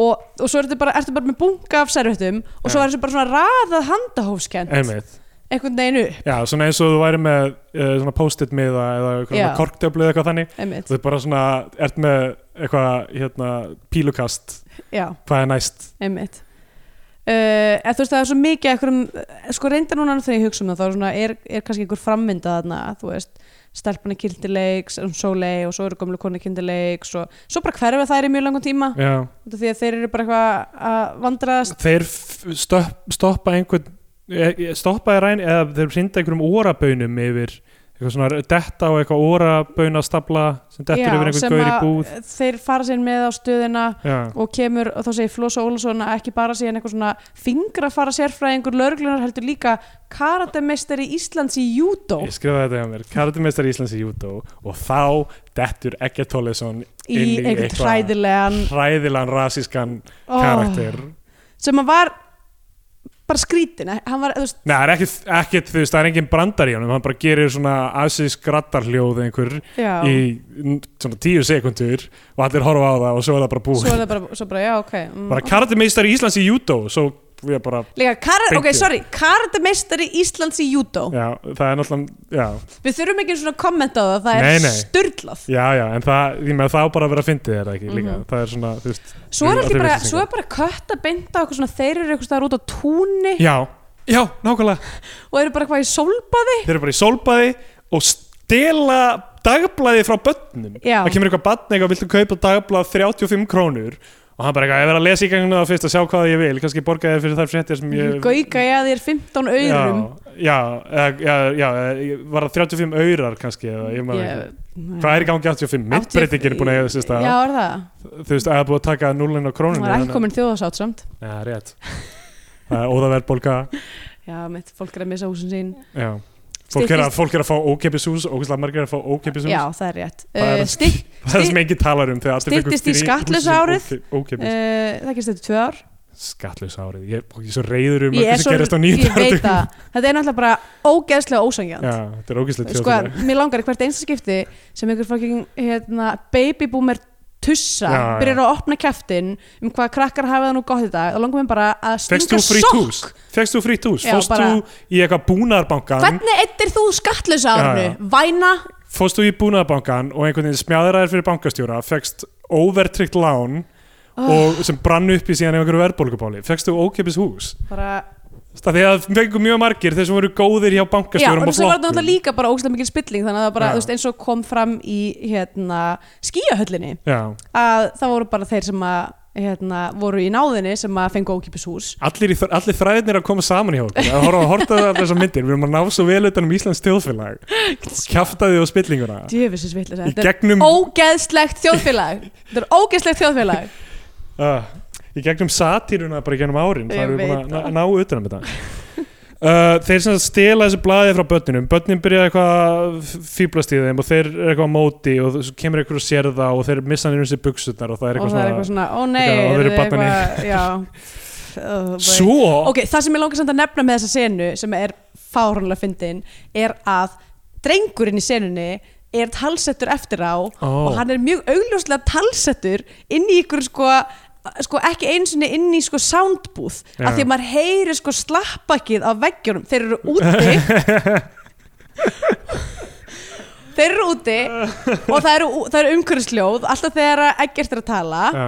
og, og svo ertu bara, ertu bara með bunga af servettum og svo Já. er þessu bara svona raðað handahófskend einmitt, einhvern veginn upp, já, svona eins og þú væri með uh, svona post-it miða eða Já. korktöflu eða eitthvað þannig einmitt þú er bara svona, ert með eitthvað hérna, pílukast, já, hvað er næst einmitt uh, eða þú veist það er svo mikið einhverjum, sko reyndar núna þegar ég hugsa um það þá er, svona, er, er kannski einhver frammynda þarna þú veist, stelpan er kildileiks um sólei og svo eru gömlu konu kildileiks og svo bara hverfa þær í mjög langan tíma já. út af því að þeir eru bara eitthvað að vandraðast þeir f- stöpp, stoppa einhvern e- e- stoppa í ræn eða þeir hrinda einhverjum órabönum yfir eitthvað svona detta á eitthvað órabaunastabla sem dettur Já, yfir einhvern sem gaur í að- búð þeir fara sér með á stöðina já, og kemur og þá segir Flosa Ólafsson að ekki bara síðan eitthvað svona fingrafara sérfræðingur lörglunar heldur líka karatemeistari Íslands í júdó ég skrifaði þetta hjá mér karatumestar Íslands í júdó og þá dettur Egger Tollesson í inn í einhvern eitthvað- hræðilegan hræðilan rasískan Ó. karakter sem að var bara skrítin hann var, þú veist, Nei, það er ekkit, ekkit, þú veist, það er engin brandar í honum hann bara gerir svona asísk rattarhljóð einhver já í n- svona tíu sekundur og allir horfa á það og svo er það bara búið svo er það bara, svo bara, já, ok mm, bara karatemeistari Íslands í júdó svo við bara, líka, kara, ok, Thank you. sorry, karatemeistari Íslands í júdó já, það er náttúrulega já, við þurfum ekki svona að kommenta á það það Nei, er nei. sturlað já, já, en það ég með það á bara að vera að fyndið er það ekki líka Mhm. það er svona, þú veist, svo er, Allir allir bara, vissu svo er bara kött að benda okkur svona þeir eru eitthvað út á túni já, já, nákvæmlega og eru bara hvað í sólbaði þeir eru bara í sólbaði og stela dagblaði frá börnum Já. það kemur eitthvað barn eitthvað, viltu kaupa dagblað 35 krónur og hann bara eitthvað, ég verð að lesa í gangnum það fyrst að sjá hvað ég vil, kannski borga þér fyrir þær fréttir sem ég Gauka ég að þér 15 auðrum já, já, já, já, já, var það 35 aurar kannski, eða ég maður ekki Ég- nei. Hvað er í gangi 85? Myndbreytingin er búin að eiga þessi stað Já, er það? Þú veist, að það er búin að taka núlinn á Það krónunni var ekki komin þjóðasátt samt Já, ja, rétt Það er óðaverðbólka Já, mitt, fólk er að missa húsin sín Já Fólk er, að, Styttist- fólk er að fá ókeppis hús, ógeðslega margir er að fá ókeppis hús Já, það er rétt Það er- uh, stytt, Það er það sem enginn talar um þegar allir fengu Styttist í þrír skattlausa hús árið. óke- uh, Ókeppis Það gerst þetta tvö ár Skattlausa árið, ég, ég er svo reyður um Ég eitthvað er sem gerist á nýjum ég veit það Þetta er náttúrulega bara ógeðslega ósangjant Já, þetta er ógeðslega Sko, mér langar í hvert einsta skipti sem einhver fucking hérna, babyboomer tussa Já, já. byrjar að opna kæftin um hvað krakkar hafa það nú gott í dag þá langar mér bara að Fekst stinga þú frýtt sokk hús? Fekst þú frýtt hús? Já, Fóst bara- þú í eitthvað búnaðarbankan? Hvernig eittir þú skattlösa Já, árnu? já. Væna? fórst þú í búnaðabankan og einhvern veginn smjáðraðir fyrir bankastjóra fegst overtryggt lán Ah. og sem brann upp í síðan ef einhverju verðbólgubáli fegst þú ókepis hús Bara það því að fengu mjög margir þeir sem voru góðir hjá Já, og bankastjórum þess að var og þetta flokkum náttúrulega líka bara ógæslega mikil spilling þannig að það bara, Já. þú veist, eins og kom fram í hérna, skíahöllinni Já. að það voru bara þeir sem að hérna, voru í náðinni sem að fengu ókipis hús allir, í þr- allir þræðirnir að koma saman í hálfur að horfa að horta það allar þessar myndir við erum að ná svo vel utan um Íslands þjóðfélag kjaftaði og spillinguna Djöfisins vitlega, í þetta er gegnum, ógeðslegt þjóðfélag Þetta er ógeðslegt þjóðfélag uh, í gegnum satíruna bara í gegnum árin Ég það erum við veit búin að það. ná, ná utan um þetta Uh, þeir sem sagt stela þessu blaði frá börninum börnin byrja eitthvað að fýblast í þeim og þeir eru eitthvað á móti og svo kemur eitthvað að sér það og þeir missa nýjum sér buksutnar og það er og eitthvað það er eitthvað svona svona, ó nei Já, og þeir eru eruð þið barnarnir. eitthvað- Já Oh, boy. svo, Ok, það sem ég langar samt að nefna með þessa senu sem er fáránlega fyndin er að drengurinn í senunni er talsettur eftir á og hann er mjög augljóslega talsettur inn í ykkur sko, sko ekki eins og inn í sko soundbúð Já. af því að maður heyri sko slappakið á veggjunum, þeir eru úti þeir eru úti og það eru, það eru umhverfisljóð alltaf þegar að ekkert er að tala já,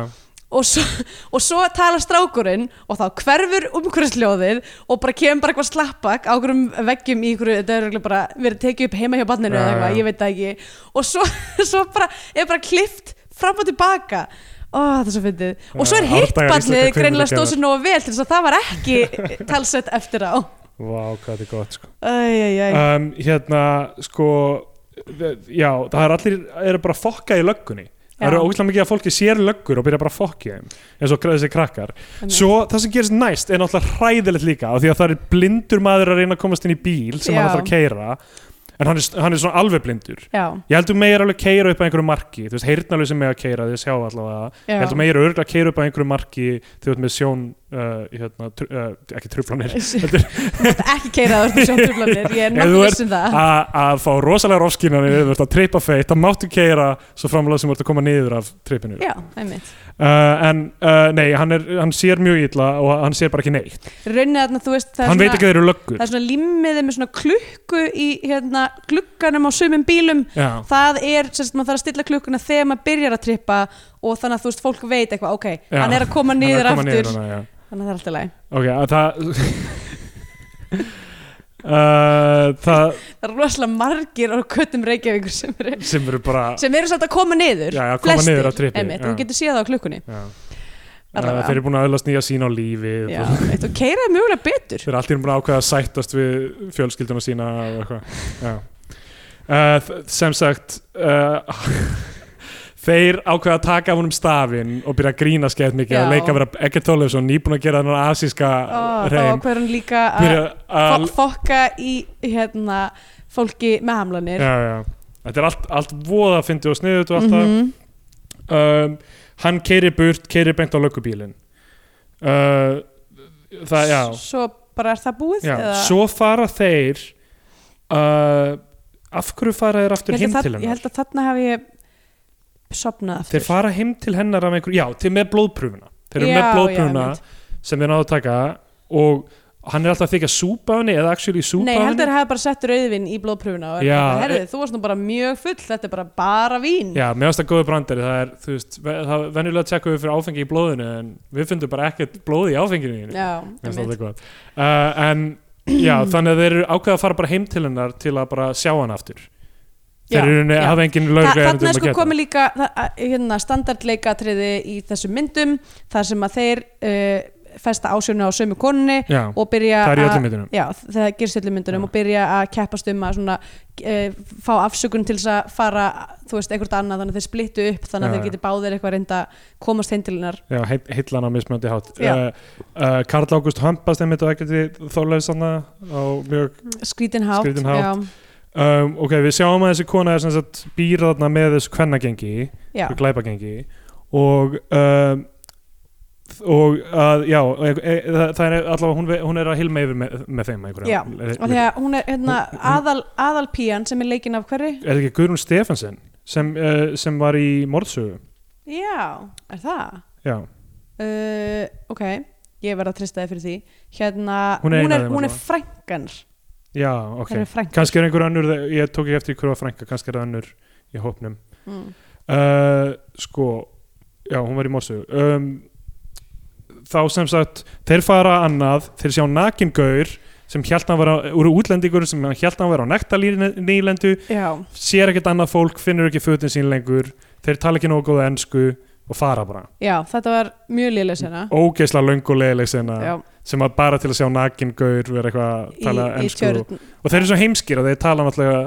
og svo, og svo tala strákurinn og þá hverfur umhverfisljóðið og bara kemur bara eitthvað slappbak á einhverjum veggjum í einhverju, þetta er örugglega bara verið tekið upp heima hjá barninu Já, eða eitthvað, já. ég veit það ekki og svo, svo bara, er bara klift fram og tilbaka Ó, það er svo fyndið. Og svo er Já, hitt árdagar barnið íslenskra greinilega stóð kvikmyndagerðar. sér nógu vel til þess að það var ekki talsett eftir á. vá hvað þetta er gott sko. Æj, æj, æj. um, hérna sko já, það er allir eru bara að fokka í löggunni það eru ógæslega mikið að fólki sér löggur og byrja bara að fokkja þeim eins og þessi krakkar Einmitt. svo það sem gerist næst er náttúrulega hræðilegt líka af því að það er blindur maður að reyna að komast inn í bíl sem hann Já. ætlar að keira en hann er, hann er svona alveg blindur já, ég held þú meir alveg keira upp að einhverju marki þú veist, heyrnalög sem með að keira, þið sjá allavega já. ég held þú meir örgulega að keira upp að einhverju marki þegar þú ert með sjón uh, hérna, tr uh, ekki truflanir ekki keira það úr sjóntruflanir ég er Ef nokkuð þú ert- Ah. viss um það A- að fá rosalega rofskinanir þú ert að trippa feitt, það máttu keira svo framlega sem þú ert að koma niður af trippinu já, einmitt uh, en uh, nei, hann, er, hann sér mjög illa og hann sér bara ekki neitt raunir þarna, þú veist, það er hann veit ekki að þeir eru löggur það er svona limmiði með svona klukku í hérna, glugganum á sumum bílum já, það er, sem sagt, maður þarf að stilla klukkuna þegar maður byrjar að trippa og þannig að þú veist, fólk veit eitthvað, ok, Já, hann er að koma hann niður að koma aftur núna, já. þannig að það er alltaf læg, ok, að það uh, það það eru rosalega margir á köttum Reykjavíkur sem eru sem eru bara sem eru samt að koma niður Já, já, koma niður af trippi, einmitt, já. þú getur séð það á klukkunni já. Uh, Allavega. þeir eru búin að öðlast nýja sín á lífi já, eitt, og keiraði mjögulega betur Þeir eru allir búin að ákveða að sættast við fjölskylduna sína og eitthvað. Já. Uh, þ- sem sagt, uh, þeir ákveða að taka af honum stafinn og byrja að grína skeitt mikið Já. að leika að vera Egert Tólefsson, nýbúin að gera þennan asíska Ó, þá reyn. hver hann líka að Byrja að... fo- fokka í hérna, fólki með hamlanir Já, já. Þetta er allt, allt voða að fyndi og sniðut og allt það. Mhm. um, hann keiri burt, keiri beint á löggubílinn. Uh, það, já. svo bara er það búið Já, eða- svo fara þeir uh, af hverju fara þeir aftur Ég heim held að til það- ég hennar held að þarna hafi ég sopnað aftur þeir fara heim til hennar af einhverju, já, til með blóðpröfuna þeir eru Já, með já, blóðpröfuna sem þeir náðu að taka og hann er alltaf að þykja súpa á henni eða actually súpa Nei, á ég held að henni þeir hafi bara sett rauðvin í blóðpröfuna og Já, bara, herðu, e- þú varst nú bara mjög full þetta er bara bara vín Já, mér finnst það góður brandari, það er, þú veist, ve- það er venjulega að tjekka við fyrir áfengi í blóðinu en við fundum bara ekkert blóð í áfenginu þínu. Já, Mér finnst einmitt. það gott. Uh, en já, þannig að þeir eru ákveða að fara bara heim til hennar til að bara sjá hann aftur. Já, Þeir eru henni, já. hafa engin um Þa, lögreglu þarna er sko komið líka það- að- hérna, standardleikatriði í þessum myndum þar sem að þeir uh, festa ásjónu á sömu konunni Já, og byrja það er í að- öllum myndunum. Já, það gerist í öllum myndunum Já. og byrja að keppast um að svona, uh, fá afsökun til þess að fara þú veist, einhvert annað þannig að þeir splittu upp þannig að Já, þeir já. geti báðir eitthvað reynda að komast heim til hennar Já, heill- heillan á mismöndi hátt Já. uh, uh, Karl Ágúst Hampast einmitt og ekkert þólega sanna á mjög skrítin hátt, Skrítin hátt. já, um, Ok, við sjáum að þessi kona er sem sagt býra þarna með þessu kvennagengi já, og glæpagengi og um, og að, já, e, e, það, það er allavega hún, ve- hún er að hilma yfir með, með þeim að einhverju já. og því að hún er hérna, Hún- hún- aðal, aðalpían sem er leikin af hverri Er það ekki Guðrún Stefansen sem, uh, sem var í morðsögu já, er það? Já, uh, ok, ég verð að trista þið fyrir því hérna, Hún hún er er, hún er, ein af þeim hún er allavega. frænkan já, ok okay. er frænkan Kannski er einhver önnur, ég tók ekki eftir hverju að frænka kannski er það önnur í hópnum mm. Uh, sko já, hún var í morsögu um, þá sem sagt þeir fara annað, þeir sjá nakin gaur sem hjælt hann vera, úr útlendingur sem hann hjælt hann vera á nektarnýlendu já, sér ekkert annað fólk, finnur ekki fötin sín lengur þeir tala ekki nógu góða ensku og fara bara, já, þetta var mjög lélega sena ógeisla löngulegileg sinna já, sem að bara til að sjá nakin gaur vera eitthvað að í, tala í ensku og, tjörn og þeir eru svo heimskir að þeir tala náttúrulega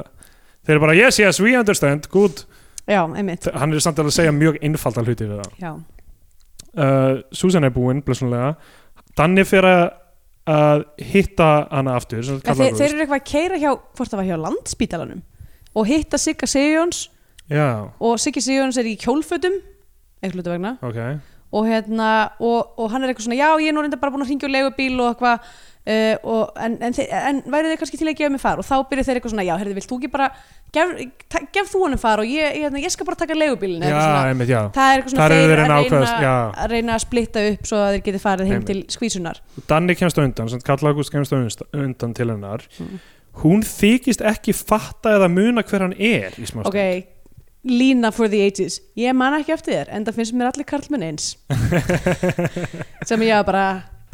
þeir eru bara yes, yes, we understand, good já, einmitt, hann er samt alveg að segja mjög einfaldan hluti við það já, uh, Susan er búin blessunlega Danni fyrir að að hitta hana aftur sem þeir, kallar þeir eru eitthvað að keira hjá hvort það var hjá landspítalanum og hitta Sigga Sigjóns já, og Siggi Sigjóns er í kjólfötum einhvern hlutu vegna ok og, hérna, og, og hann er eitthvað svona já, ég er nú reynda bara búin að hringja og leigubíl og eitthvað uh, og, en, en, þi- en væri þeir kannski til að gefa mig far og þá byrja þeir eitthvað svona já, herði, vilt þú ekki bara gef, ta, gef þú honum far og ég, ég, hérna, ég skal bara taka leigubílin já, einmitt, já það er eitthvað svona Þar eru þeir þeir að að reyna, ákveðast, já. að reyna að splitta upp svo að þeir geti farið heim Einmitt. til skvísunar Danni kemst á undan, sem kallar August kemst á unst- undan til hennar Hmm. hún þykist ekki fatta eða muna hver hann er í smástund ok, lína for the ages ég man ekki eftir þér, en það finnst mér allir karlmenn eins sem ég var bara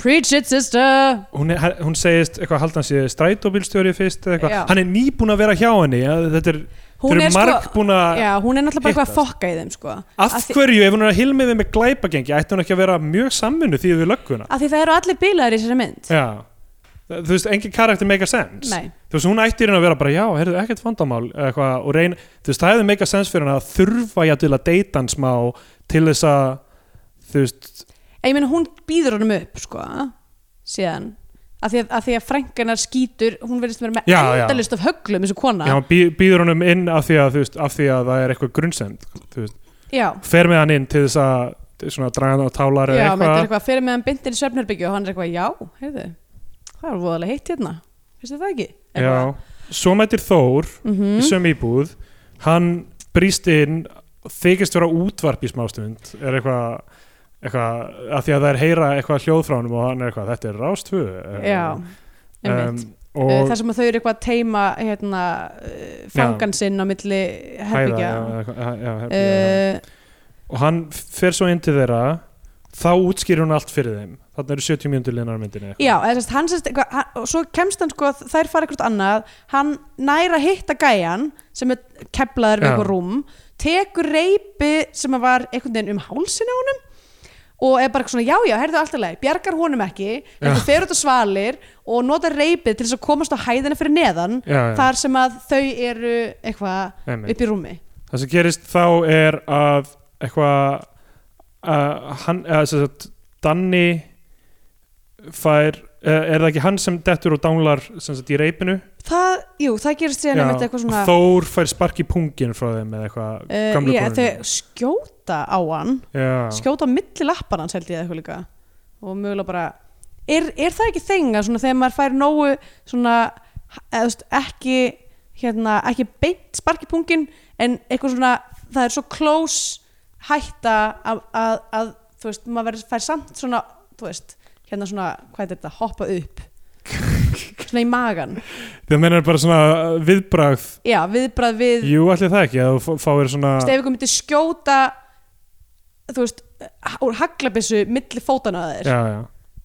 preach it sister hún, er, hún segist eitthvað haldan sé strætóbílstjóri fyrst eða Já. eitthvað, hann er nýbúin að vera hjá henni ja, þetta er, Hún þeir er eru sko- marg búin að já, hún er náttúrulega bara eitthvað að hittast. fokka í þeim sko. af Af því- hverju, ef hún er að hilmiði með glæpagengi ætti hún ekki að vera mjög samvinnu því við lögguna að því það eru allir bilaðir í þessari mynd Já, þú veist, engin karakter make a sense Nei, þú veist, hún ætti í raun að vera bara, já, heyrðu, ekkert vandamál eða eitthvað, og reyna, þú veist, það hefði make a sense fyrir hann að þurfa ég til að deyta hann smá til þess að þú veist, En ég meina hún býður honum upp sko, síðan að því að, að, því að frænkanar skýtur hún verðist vera með Já, já. endalist af höglum eins og kona já, hann bý- býður honum inn af því að, þú veist, af því að það er eitthvað grunnsend, þú veist, já, fer með hann inn til þess að, svona, draga hann á tálar já með þetta eða er eitthvað, eitthvað fyrir meðan bindir í svefnherbyggju og hann er eitthvað, já, heyrðu það er voðalega heitt hérna, finnst þið það ekki? Eitthvað. já svo mætir Þór Mhm. í sömu íbúð hann brýst inn þykist vera útvarp í smástund er eitthvað eitthvað, að því að það er heyra eitthvað hljóð frá honum og hann er eitthvað, þetta er rástfö já, einmitt Um, Eh, og þar sem að þau eru eitthvað að teima hérna, eh, fangan sinn á milli hæða, herbyggja já, eitthvað, já, herbyggja, já. Eh, og hann fer svo inn til þeirra þá útskýrir hún allt fyrir þeim þannig eru 70 mínútur linar myndinni Já, eða sérst, hann sérst eitthvað, hann, og svo kemst hann sko, að þær fara eitthvað annað, hann næra hitta gæjan sem er keflaður við Já. eitthvað rúm, tekur reypi sem að var einhvern veginn um hálsina á honum og er bara eitthvað svona, já, já, heyrðu allt í leið, bjargar honum ekki, eitthvað fer út á svalir og notar reypið til þess að komast á hæðina fyrir neðan, já, já. þar sem að þau eru eitthvað Einmitt. upp í rúmi. það sem gerist þá er að eitthvað uh, hann, eða sem sagt Danni fær uh, er það ekki hann sem dettur og dánlar sem sagt í reipinu Það, jú, það gerist síðan einmitt eitthvað svona... Þór fær spark í pungin frá þeim eða eitthvað Uh, gamlu ég, konunni. þau skjóta á hann Já. skjóta á milli lappar hans held ég eða eitthvað líka og mögulega bara er, er það ekki þenga svona þegar maður fær nógu svona eða, þú veist, ekki hérna, ekki beint spark í pungin en eitthvað svona það er svo close hætta að, að, að þú veist maður verður fær samt svona þú veist hérna svona hvað er þetta hoppa upp svona í magan það meinar bara svona uh, viðbragð já viðbrað við jú allir það ekki að þú fá- fáir svona veist, ef ykkur myndi skjóta þú veist, h- úr haglabissu milli fótana að þér já, já.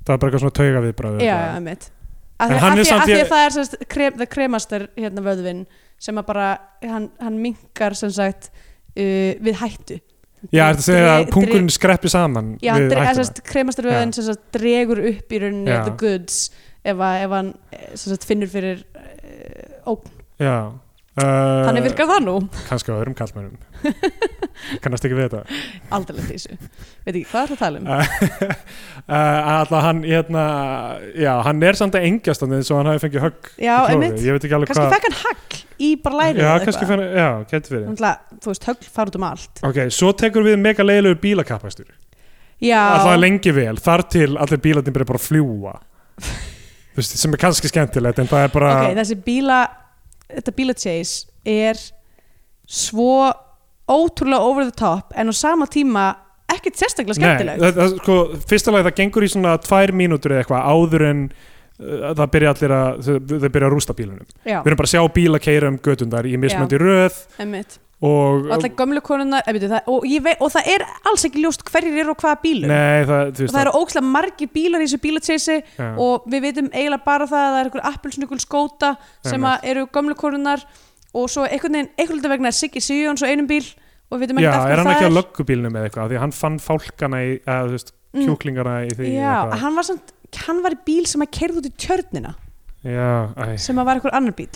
það er bara eitthvað svona tauga já, viðbragð já, einmitt að En því hann að, er því- samt að, því ég- að það er sem sagt, krem, það kremastar hérna vöðvin sem að bara, hann, hann minkar sem sagt uh, við hættu já þetta segir að Dre- pungurinn skreppi saman já, hann við dre, að, sem hættuna. sagt, kremastar vöðvin sem sagt, dregur upp í rauninni Já. the goods ef, að, ef hann eh, sem sagt, finnur fyrir uh, ógn, já Uh, þannig virkar það nú kannski á öðrum kallmennum kannast ekki við þetta aldrei lent í þessu, veit ekki hvað er það að tala um uh, alltaf hann hérna, já, hann er samt að engjast hann eins og hann hafi fengið högg í já, klófið. einmitt, ég veit ekki alveg kannski hvað fekk hann hagl í bara lærið já, eða kannski eitthvað. fann, já, getur verið Náttúrulega, þú veist, högl fara út um allt ok, svo tekur við mega leiðilegur bílakappastur Já, alltaf lengi vel, þar til allir bílarnir byrja bara að fljúa Þú veist, sem er kannski skemmtilegt en það er bara ok, þessi bíla þetta bíla chase er svo ótrúlega over the top en á sama tíma ekkert sérstaklega Nei, skemmtilegt það, það, sko, fyrsta lagi það gengur í svona tvær mínútur eða eitthvað áður en uh, það byrja allir að þau, þau byrja að rústa bílunum Já, við erum bara að sjá bíla keira um götundar í mismöndi röð emmitt og Alla gömlu konuna, emmitt, það, og, ég vei, og það er alls ekki ljóst hverjir eru og hvaða bílum Nei, það, þú og veist það eru ókslega margir bílar í þessu bíla chase Já. og við veitum eiginlega bara það að það er einhver appelsnugul skóta sem að eru gömlu konunar og svo einhvern veginn, einhvern veginn vegna er Siggi Sigjóns á einum bíl og við veitum Já, ekkert af er hverju hann það ekki á löggubílnum eða eitthvað af því að hann fann fálkana í, eða þú veist, Mm. kjúklingana í því Já, eitthvað. hann var, samt, hann var í bíl sem að kerði út í tjörnina Já, æ, sem að var einhver annar bíl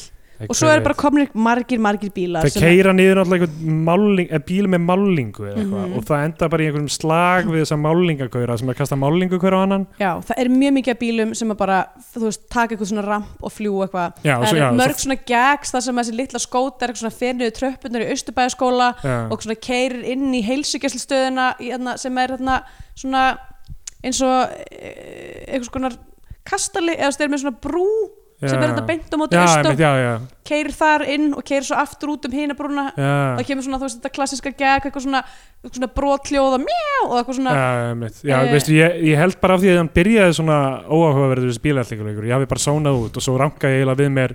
æ, og svo hver eru bara veit. komin margir, margir bílar Það sem að- keira niður náttúrulega einhvern máling, eh, bíl með málingu eða eitthvað Mhm. og það enda bara í einhverjum slag við þessa málingakauðra sem er að kasta málingu hver á annan Já, það er mjög mikið af bílum sem að bara, þú veist, taka eitthvað svona ramp og fljú eitthvað. Já, Það svo, eru já, mörg svona gags þar sem þessi litla skóta er eitthvað svona ferniðu tröppunar í Östubæðaskóla svo, já. og svona keirir inn í heilsugjæslistöðuna hérna, sem er hérna, svona eins og e, einhvers konar kastali eða þeir eru með svona brú sem er þetta beint á móti Já, öst einmitt, og já, já, keirir þar inn og keirir svo aftur út um hina brúna já, það kemur svona þú veist þetta klassiska gag eitthvað svona, eitthvað svona brotljóða mjá og eitthvað svona já, einmitt. já Eh. veistu, ég, ég held bara af því að hann byrjaði svona óáhugaverður þessi bílætlinguleikur, ég hafi bara sónað út og svo rankaði ég eiginlega við mér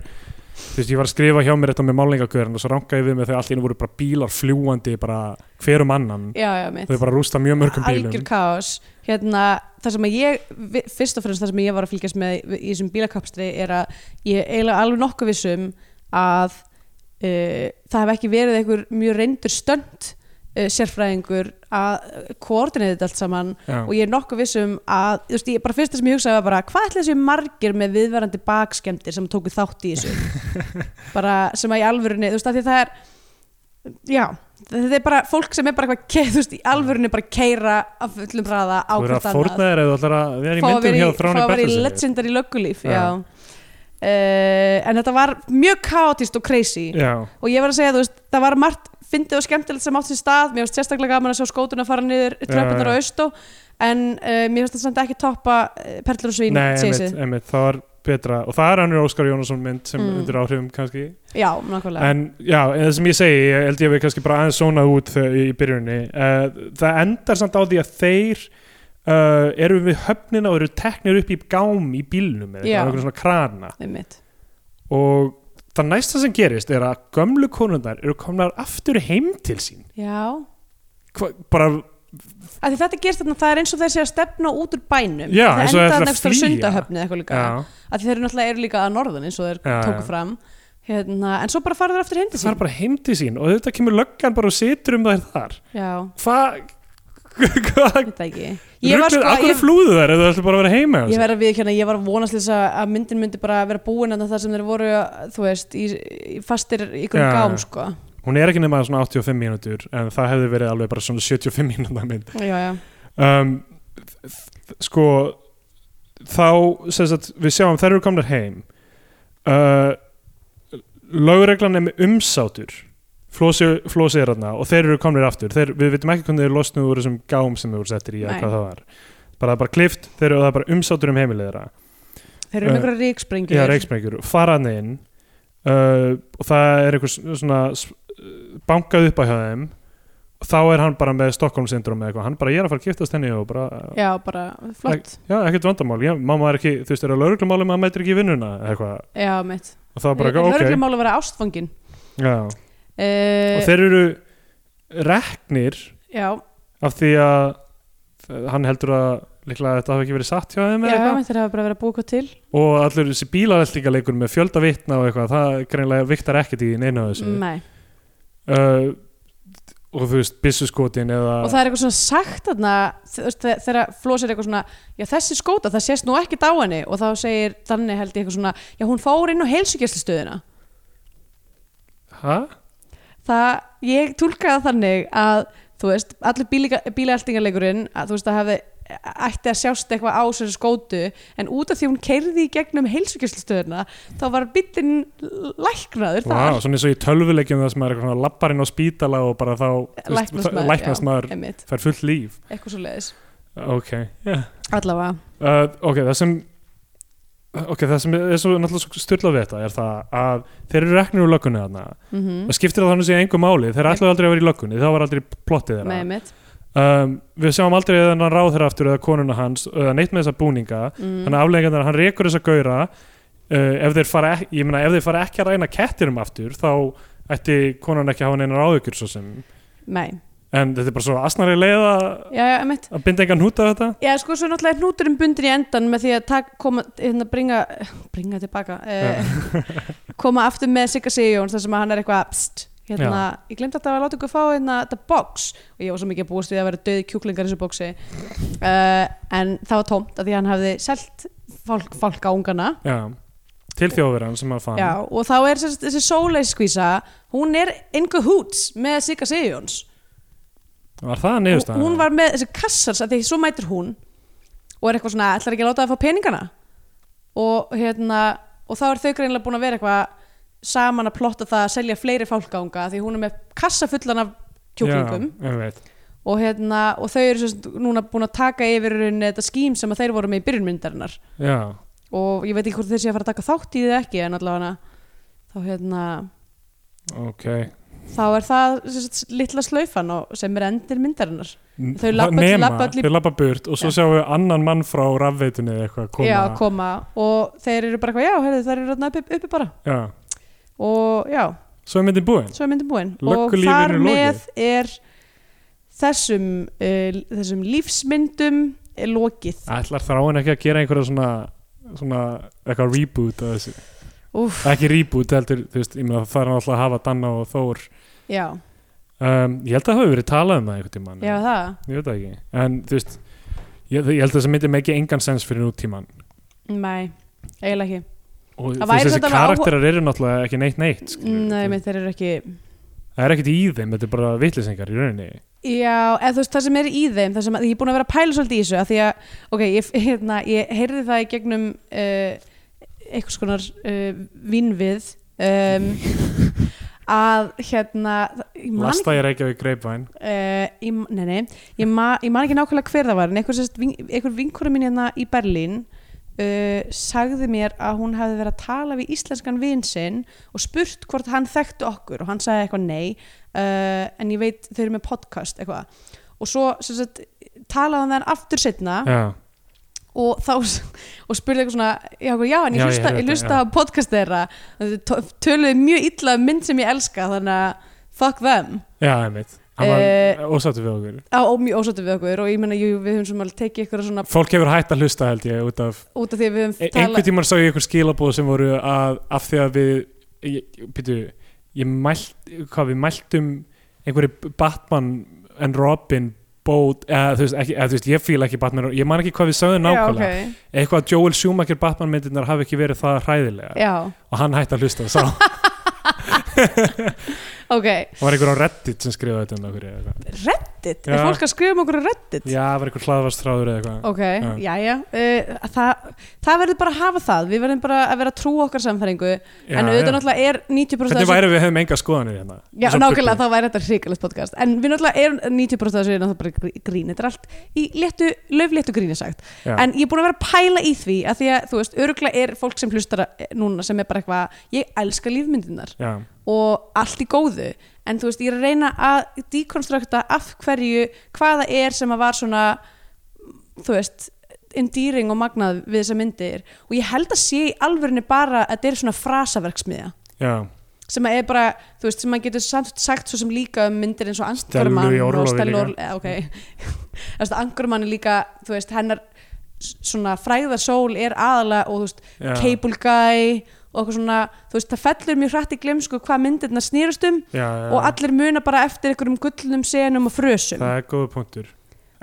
þú veist, ég var að skrifa hjá mér þetta með málingakörn og svo rankaði ég við mér þegar allt í einu voru bara bílar fljúandi bara hver um annan já, já, mitt þau bara rústa mjög mörgum algjör bílum kaos hérna, það sem að ég, vi- fyrst og fremst það sem ég var að fylgjast með í í þessum bílakapstri er að ég er eiginlega alveg nokkuð um vissum að uh, það hef ekki verið einhver mjög reyndur stönd uh, sérfræðingur að koordinera þetta allt saman Já. og ég er nokkuð viss um að þú veist, ég bara fyrst það sem ég hugsaði var bara hvað ætla þessi margir með viðverandi bakskemdir sem tóku þátt í þessu bara sem að í alvörunni, þú veist, að því það er já, þetta er bara fólk sem er bara eitthvað, ke- þú veist, í alvörunni bara keira af fullum hraða á Þú verður hvert að annað fórna þér eða þú ætlar að vera í fá að myndum vera hjá í- fá Þráni að vera í Bertelsen legendary löggulíf Já. já. Uh, en þetta var mjög kaotist og crazy Já, og ég var að segja, þú veist, það var margt fyndið og skemmtilegt sem átt sér stað, mér finnst sérstaklega gaman að sjá skótuna fara niður tröpunar já. á austó en uh, mér finnst það samt ekki toppa uh, perlur og svín nei, einmitt, sísið. einmitt, það var betra og það er annir Óskar Jónasson mynd sem Mm. undir áhrifum kannski já, nákvæmlega En já, en það sem ég segi, ég held ég að við kannski bara aðeins svona út þau, í byrjunni uh, Það endar samt á því að þeir uh, eru við höfnina og eru teknir upp í gám í bílnum eða Já. eitthvað, eitthvað svona krana einmitt. og það næsta sem gerist er að gömlu konundar eru komnar aftur heim til sín já, Hva, bara, af því þetta gerst þarna, það er eins og þeir sé að stefna út úr bænum Já, það eins og þeir ætla að enda nægst á flýja. sundahöfni eða eitthvað líka já, af því þeir eru náttúrulega eru líka að norðan eins og þeir Já, tóku já. fram hérna, en svo bara fara þeir aftur hindi það sín er bara heim til sín og þetta kemur löggan bara og situr um þær þar já, Hvað, hvað ég veit það ekki ég var Ruglið, sko, af hverju ég, flúðu þær ef það ætla bara að vera heima ég hjá sér? verð að við hérna, ég var vonastlýs að myndin myndi bara vera búin að það sem þeir voru, þú veist, í, í fastir í hverjum Já. gám, sko. hún er ekki nema svona 85 mínútur en það hefði verið alveg bara svona 75 mínútur mynd Já, já. um, þ- þ- sko þá sem sagt, við sjáum þær eru komnar heim uh, lögreglan er með umsátur flósi, flósi er þarna og þeir eru komnir aftur þeir, við veitum ekki hvernig þeir losnuðu úr þessum gám sem þeir voru settir í eða Nei. hvað það var bara, það er bara klift, þeir eru það er bara umsátur um heimilið þeirra Þeir eru með Eh, einhverja ríksprengjur. Já, reiksprengjur, faraðna inn uh, og það er einhver s- svona s- uh, bankað upp á hjá þeim og þá er hann bara með Stockholm syndrom eða eitthvað, hann bara ég er að fara að giftast henni og bara, Já, bara flott. já, ekkert vandamál já, mamma er ekki, þú veist, er það lögreglumálum maður mætir ekki í vinnuna eða eitthvað, Já, mitt. og það er bara eitthvað, Lörglega mála að vera ástfangin. ok já. Uh, og þeir eru reknir Já, af því að eh, hann heldur að líklega þetta hafi ekki verið satt hjá þeim já, eða eitthvað mitt þeir hafa bara verið að búa eitthvað til. og allur þessi bílareltingaleikur með fjölda vitna og eitthvað, það greinlega viktar ekkert í neina af þessu Nei. uh, og þú veist byssuskotin eða Og það er eitthvað svona sagt þarna, þú veist, þe- þegar flósir eitthvað svona, já þessi skóta, það sést nú ekki dáinni og þá segir þannig held ég eitthvað svona, já hún fór inn á heilsugjörslistöðina. Hæ? það, ég tólkaði það þannig að þú veist, allir bílaeltingarleikurinn að þú veist, það hefði ætti að sjást eitthvað á sér skótu en út af því hún keirði í gegnum heilsugjörslustöðuna þá var bíllinn læknaður Vá, þar svona eins og í tölvuleikjum það sem maður er eitthvað svona lappar inn á spítala og bara þá þú veist, læknast það- maður, læknast já, maður einmitt, fær fullt líf eitthvað svo leiðis ok, yeah. allavega, uh, ok, það sem ok, það sem er svo náttúrulega svo styrla við þetta er það að þeir eru reknir úr löggunni þarna mm -hmm. það skiptir þannig sig engum máli, þeir ætlaðu aldrei að vera í löggunni það var aldrei plottið þeirra með mitt um, við sjáum aldrei þennan ráð þeirra aftur eða konuna hans, eða neitt með þessa búninga mm. þannig að afleggingarnar, hann rekur þessa gaura uh, ef, þeir fara ekki, ég meina, ef þeir fara ekki að ræna kettinum aftur þá ætti konan ekki að hafa neinar áðugjur svo sem nei, en þetta er bara svo asnari leið að já, já, einmitt að binda engan hút af þetta Já, sko, svo náttúrulega er hnúturinn bundin í endan með því að tak, koma, hérna, bringa, bringa tilbaka, eh, koma aftur með Sigga Sigjóns þar sem að hann er eitthvað, pst, hérna, ég glemt að það var að láta ykkur fá hérna þetta box og ég var svo mikið að búast við að vera döði kjúklingar í þessu boxi, eh, en það var tómt að því að hann hafði selt fólk, fólk á ungana. já, til þjóðverðan sem að fann Já, og þá er þessi, þessi sóleiskvísa, hún er ingu húts með Sigga Sigjóns. var það hún, nefnst hún var með þessi kassar að því svo mætir hún og er eitthvað svona, ætlar ekki að láta það að fá peningana og hérna og þá er þau greinlega búin að vera eitthvað saman að plotta það að selja fleiri fálkanga því hún er með kassa fullan af kjúklingum já, ég veit. og, hérna, og þau eru sérst, núna búin að taka yfir í rauninni þetta skím sem að þeir voru með í byrjunmyndarinnar já. og ég veit ekki hvort þeir séu að fara að taka þátt í því eða ekki en allavega þá hérna ok þá er það sérst, litla slaufan og- sem er endir myndarinnar Þau Það- labba- nema, labba öll í- þau labba burt og svo Já. sjáum við annan mann frá rafveitunni eða eitthvað koma Já, koma og þeir eru bara eitthvað, já, heyrðu, þeir eru þarna uppi, uppi bara Já. og já, svo er myndin búin svo er myndin búin og Löggulífinu þar er lokið. með er þessum, uh, þessum lífsmyndum er lokið ætlar þráin ekki að gera einhverja svona, svona eitthvað reboot að þessu Úff, ekki reboot heldur, þú veist, ég meina það er náttúrulega að hafa Danna og Þór já, um, ég held að það hafi verið talað um það einhvern tímann Já, það ég veit það ekki, en þú veist ég, ég held að það myndi með ekki engan sens fyrir nútíman Nei, eiginlega ekki og þú Það veist væri þessi samt alveg áhuga- karakterar eru náttúrulega ekki neitt neitt skilurðu. Nei, mitt þeir eru ekki það er ekkert í þeim, þetta er bara vitlýsingar í rauninni Já, eða þú veist, það sem er í þeim það sem að- ég er búin að vera að pæla svolítið í þessu af því að, ok, ég, hérna, ég heyrði það í gegnum uh, einhvers konar uh, vinnvið um, að hérna ég man ekki- lasta ég reykja við greipvæn Uh, ég, nei, nei, ég, ma, ég man ekki nákvæmlega hver það var en einhver, sérst, vin- einhver vinkona mín hérna í Berlín uh, sagði mér að hún hefði verið að tala við íslenskan vin sinn og spurt hvort hann þekkti okkur og hann sagði eitthvað nei uh, en ég veit þau eru með podcast eitthvað og svo sem sagt, talaði hann við hann aftur setna já, og þá og spurði eitthvað svona já, eitthvað, já en Já, ég ég hlusta, heyrði ég þetta, hlusta á podcast þeirra Þau tö- töluðu mjög illa um mynd sem ég elska þannig að fuck them já, einmitt hann Eh, var ósattu við okkur á, og mjög ósáttu við okkur og ég meina jú, við höfum sem alveg tekið ykkur svona fólk hefur hægt að hlusta held ég út af út af því að við höfum e tala einhvern tímann sá ég einhver skilabóð sem voru að, af því að við ég, pítu, ég mælt, hvað við mæltum einhverju Batman and Robin bót, eða þú veist, ekki, eða, þú veist ég fíla ekki Batman, ég man ekki hvað við sögðum nákvæmlega já, eitthvað að Joel Schumacher Batman myndirnar hafi ekki verið það hræðilega ok, já, og hann hætti að hlusta sá, það ok var einhver á Reddit sem skrifaði þetta um okkur eða eitthvað. Reddit, Já. er fólk að skrifa um okkur á Reddit já, það var einhver hlaðvarstráður eða eitthvað ok, já, já uh, það, það verður bara að hafa það við verðum bara að vera trú okkar samfæringu já, en auðvitað já. náttúrulega er 90% hvernig af þessu- væri við hefum enga skoðanir hérna Já, Svo nákvæmlega, bubblu. þá væri þetta hrikalegt podcast En við náttúrulega erum 90% af þessu er náttúrulega bara grí- grín Þetta er allt í léttu, löfléttu gríni sagt Já. En ég er búin að vera að pæla í því að Því að, þú veist, öruglega er fólk sem hlustar eh, núna sem er bara eitthvað, ég elska lífmyndinar já, og allt í góðu en þú veist, ég er að reyna að dekonstrukta af hverju, hvaða er sem að var svona þú veist, endýring og magnað við þessa myndir og ég held að sé í alvörinu bara að þetta er svona frasaverksmiðja já, sem að er bara, þú veist, sem maður getur samt sagt svo sem líka um myndir eins og Stellu Angurmann í orlofi líka. líka ok, þess að Angurmann er líka þú veist, hennar s- svona fræðarsól er aðalega og þú veist, Já. Cable Guy og eitthvað svona, þú veist, það fellur mjög hrætt í glemsku hvað myndirna snýrust um já, já, og allir muna bara eftir einhverjum gullnum senum og frösum það er góða punktur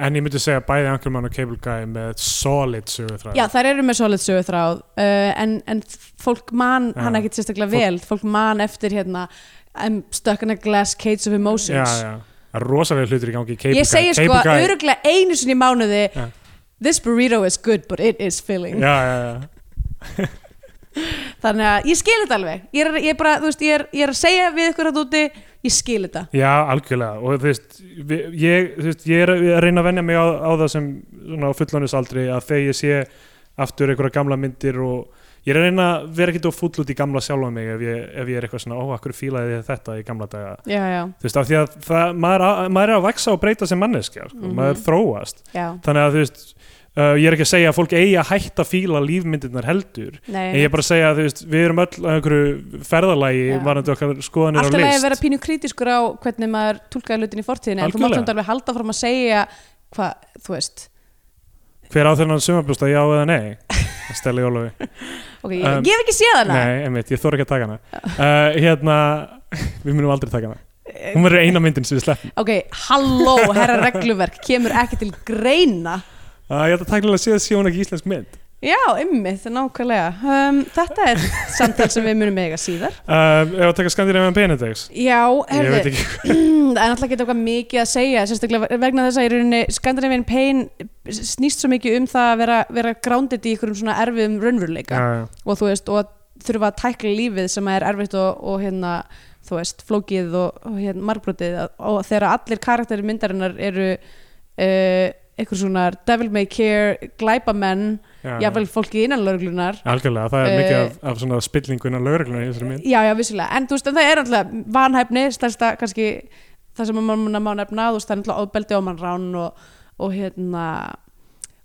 en ég myndi segja bæði Ankermann og Cable Guy með solid sögur þræð Já, þær eru með solid sögutráð uh, en, en fólk man Já. hann ekkit sérstaklega Fólk- vel, fólk man eftir hérna I'm stuck in a glass cage of já, emotions já. það er rosalega hlutir í gangi í Cable ég segi Guy, sko Cable Guy öruglega einu sinni í mánuði Já. this burrito is good but it is filling já, já, já. þannig að ég skil þetta alveg ég er, ég er bara, þú veist, ég er, ég er að segja við ykkur að úti, ég skil þetta Já, algjörlega og þú veist, vi- ég, þú veist, ég er að reyna að venja mig á, á það sem svona á fullónusaldri að þegar ég sé aftur einhverja gamla myndir og ég er að reyna að vera ekkert of fúll út í gamla sjálfa mig ef ég, ef ég er eitthvað svona, ó, akkur fílaði ég þetta í gamla daga, já, já, þú veist, af því að það, maður, á- maður er að vaksa og breyta sem manneskja sko, Mhm. maður þróast, já, þannig að þú veist uh, ég er ekki að segja að fólk eigi að hætta að fíla lífmyndirnar heldur En nei ég er bara að segja að þú veist, við erum öll að einhverju ferðalagi Já. varandi okkar skoðanir alltaf á að list. vera pínu krítiskur á hvernig maður tólkaði hlutin í fortíðinu en þú Algjörlega. mátt samt alveg halda fram að segja hvað, þú veist Hver á þennan sumarbústa, já eða nei? Stella Jólofi. ok, ég, Um, ég hef ekki séð hana Nei, einmitt, ég þóra ekki að taka hana. Uh, hérna, við munum aldrei taka hana. Eh. Hún verður eina myndin sem við sleppum. ok, halló, herra regluverk kemur ekki til greina Uh, ég ætla að takla að sé að sé hún ekki íslensk mynd. já, ymmið, nákvæmlega um, þetta er samtal sem við munum eiga síðar Uh, ef að taka skandir eða Benediks. já, Ég herðu veit ekki. Mm, en alltaf geta eitthvað mikið að segja sérstaklega vegna þess að í rauninni Scandinavian Pain snýst svo mikið um það að vera, vera grounded í einhverjum svona erfiðum raunveruleika Uh, og þú veist, og að þurfa að tækla lífið sem er erfitt og, og hérna þú veist, flókið og, og hérna, marbrotið að- og þegar allir karakteri myndarinnar eru uh, einhver svona devil may care glæpamenn, já, jáfnvel fólki innan lögreglunar Algjörlega, það er Eh, mikið af, af svona spillingun af lögreglunum í þessari mynd. já, já, vissulega, en þú veist, en það er alltaf vanhæfni, stærsta kannski það sem mann man, má nefna, þú veist, það er alltaf ofbeldi og mannrán og, og hérna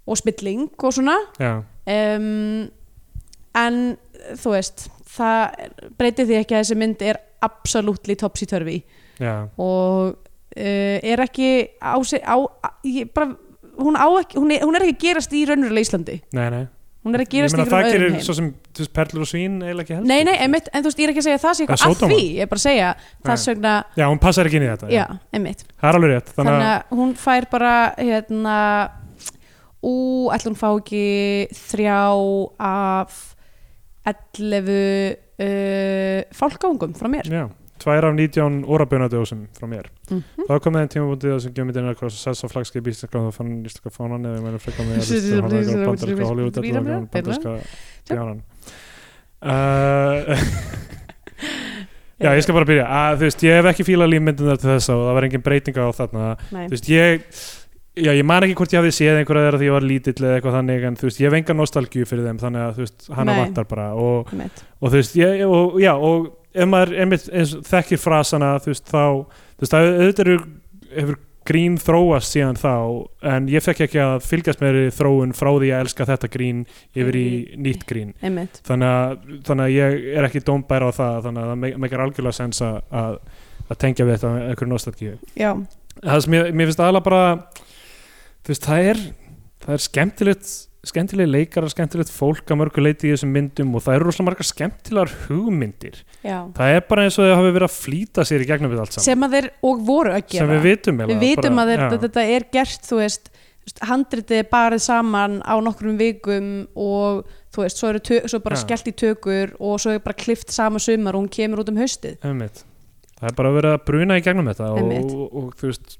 og spilling og svona Já, um, en þú veist, það breytir því ekki að þessi mynd er absolutt topsy-turvy já, og uh, er ekki á, sig- á, á ég bara hún, á ekki, hún, er, hún er ekki að gerast í raunverulega Íslandi nei, nei. hún er að gerast í Ég einhverjum meina, það öðrum gerir heim svo sem þú veist, perlur og svín eiginlega ekki helst Nei, nei, einmitt, en þú veist, ég er ekki að segja að það sé eitthvað Það er að því, ég er bara að segja þess vegna, já, hún passar ekki inn í þetta já, einmitt það er alveg rétt þannig að, hún fær bara hérna ú, ætla hún fá ekki þrjá af 11 uh, fálkangum frá mér já, tvær af 19 orabjörnadjósum frá mér Mhm. þá kom þeim tímabútið þessum gjömyndin að krossa sess á flagskip íslenska og þá fann íslenska fánan eða meðlum frekar með Sér- bandarska Hollywood bandarska bjánan uh, já, ég skal bara byrja að, þú veist, ég hef ekki fílað lífmyndunar til þess og það var engin breytinga á þarna Nei. þú veist, ég já, ég man ekki hvort ég hafði séð einhverja þeirra því ég var lítill eða eitthvað þannig, en þú veist, ég hef enga nostalgíu fyrir þeim, þannig að þú veist, hana Nei. vantar bara og, einmitt, og þú veist, ég, og já, og ef maður einmitt eins, þekkir frasana, þú veist, þá þú veist, það auðvitað eru, hefur grín þróast síðan þá, en ég fekk ekki að fylgjast með þeirri þróun frá því að elska þetta grín yfir í nýtt grín einmitt þannig að, þannig að ég er ekki dómbær á það, þannig að það me- meikar algjörlega sens að, að, að tengja við þetta með einhverju nostalgíu já, það sem ég, mér finnst aðalega bara þú veist, það er það er skemmtilegt skemmtileg leikar, skemmtilegt fólk að mörgu leiti í þessum myndum og það eru rosalega margar skemmtilegar hugmyndir já það er bara eins og þau hafi verið að flýta sér í gegnum við allt saman, sem að þeir og voru að gera sem við vitum við vitum að þeir, þetta er gert þú veist, þú veist, handritið er barið saman á nokkrum vikum og þú veist, svo, eru tök, svo bara Já. skellt í tökur og svo er bara klift sama sumar og hún kemur út um haustið Einmitt. Það er bara verið að bruna í gegnum þetta og, Einmitt. og, og þú veist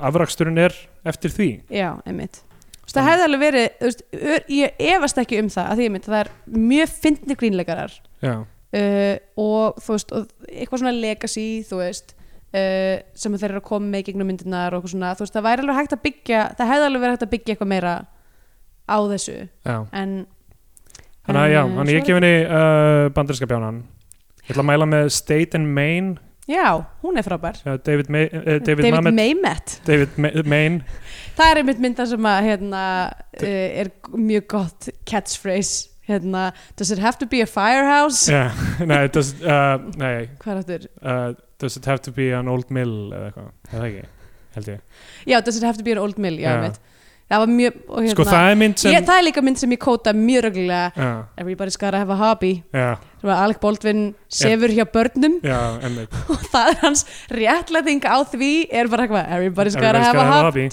afraksturinn er eftir því já, einmitt Þú veist, það hefði alveg verið, þú veist, ör- ég efast ekki um það að því ég mynd, það er mjög fyndni grínleikarar Já, uh, og þú veist, og eitthvað svona legacy, þú veist uh, sem þeir eru að koma með í gegnum myndirnar og eitthvað svona, þú veist, það væri alveg hægt að byggja það hefði alveg verið hægt að byggja eitthvað meira á þessu, já. en Þannig að já, þannig að Eh, svo ég er- gef henni uh, bandarinska bjánan Ég ætla að mæla með State and Main Já, hún er frábær David, May, uh, David, David Mamet Mamet David Ma- Main Það er einmitt mynda sem að hérna, uh, er mjög gott catchphrase hérna, Does it have to be a firehouse? yeah. nei, does, uh, nei Hvað er aftur? uh, does it have to be an old mill eða eitthvað, er það ekki, held ég Já, does it have to be an old mill? Já, Já. einmitt Það var mjög og, hérna, sko það er mynd sem ég, Það er líka mynd sem ég kóta mjög reglulega já, Everybody's gotta have a hobby já, Það var Alec Baldwin sefur hjá börnum já, einmitt. og það er hans réttlæting á því er bara eitthvað Everybody's gotta Everybody's have a gotta hobby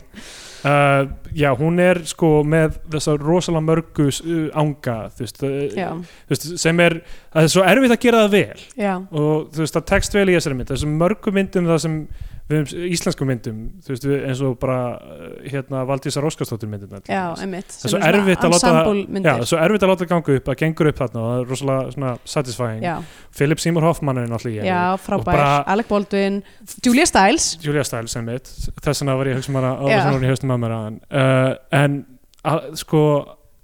hobby. Uh, já, hún er sko með þessar rosalega mörgu s- uh, anga þú veist, Já, uh, þú veist, sem er það er svo erfitt að gera það vel já, og þú veist, það tekst vel í þessari mynd þessum mörgu myndum það sem við höfum íslensku myndum, þú veist, við- eins og bara uh, hérna Valdísar Óskarsdóttir myndin já, einmitt Það er svo erfitt að láta- Já, láta svo erfitt að láta ganga upp, að gengur upp þarna og það er rosalega svona satisfying Já, Philip Seymour Hoffman er náttúrulega í henni. Já, Og frábær, bara- Alec Baldwin Julia Stiles Julia Stiles sem mitt, þess vegna var ég að hugsa um maður að Já. það var í haustum að mér aðan uh, en að, sko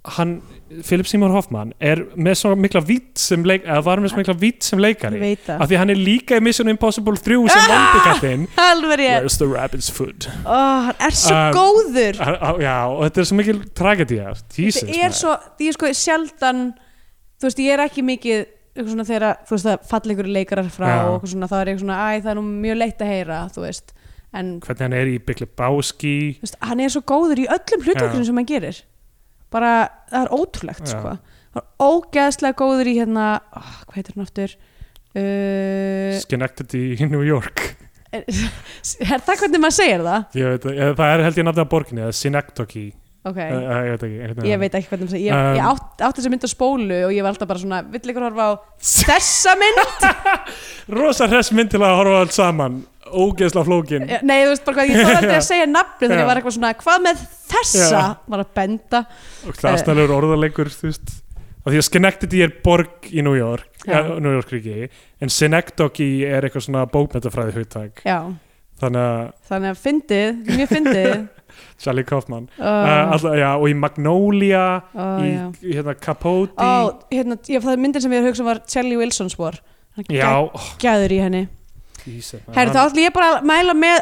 hann, Philip Seymour Hoffman er með svo mikla vitt sem leik, eða var með svo mikla vitt sem Ég leikari veit það Ah! af því hann er líka í Mission Impossible 3 sem vandikattinn Alveg rétt, Where's the rabbit's food? Ó, hann er svo Um, góður Á- á- Já, og þetta er svo mikil tragedía Jesus, Þetta er maður. svo, ég sko sjaldan þú veist, ég er ekki mikið eitthvað svona þegar, að, þú veist, það falla ykkur leikarar frá Já. og eitthvað svona, þá er ég svona, æ, það er nú mjög leitt að heyra, þú veist en, hvernig hann er í Big Lebowski þú veist, hann er svo góður í öllum hlutverkunum Já. sem hann gerir bara, það er ótrúlegt, Já. sko hann er ógeðslega góður í hérna oh, hvað heitir hann aftur uh, Schenectady í New York er, er það hvernig maður segir það? Ég veit, ég, það er held ég nafnið á borginni, eða Synecdoche Okay. uh, uh, ég veit ekki, einhvern ég veginn. veit ekki hvernig maður segir ég, Um, ég átt, átti þessa mynd á spólu og ég var alltaf bara svona vill ykkur horfa á þessa mynd rosa hress mynd til að horfa allt saman ógeðsla flókin nei þú veist bara hvað ég þóra aldrei að segja nafni þegar Já. ég var eitthvað svona hvað með þessa Já. var að benda og það er Eh. snælegur orðalegur þú veist af því að Schenectady er borg í New York ja. Já. New York ríki en Synecdoche er eitthvað svona bókmyndafræði hugtæk já þannig að þannig að fyndið mjög fyndið Charlie Kaufman uh. uh, alltaf, já, og í Magnolia uh, í já. hérna Capote ó hérna já, það er myndin sem ég hugsa var Shelley Wilson's War hann já er oh, gæður í henni Jesus, man, Herri, þá hann- ætlum ég bara að mæla með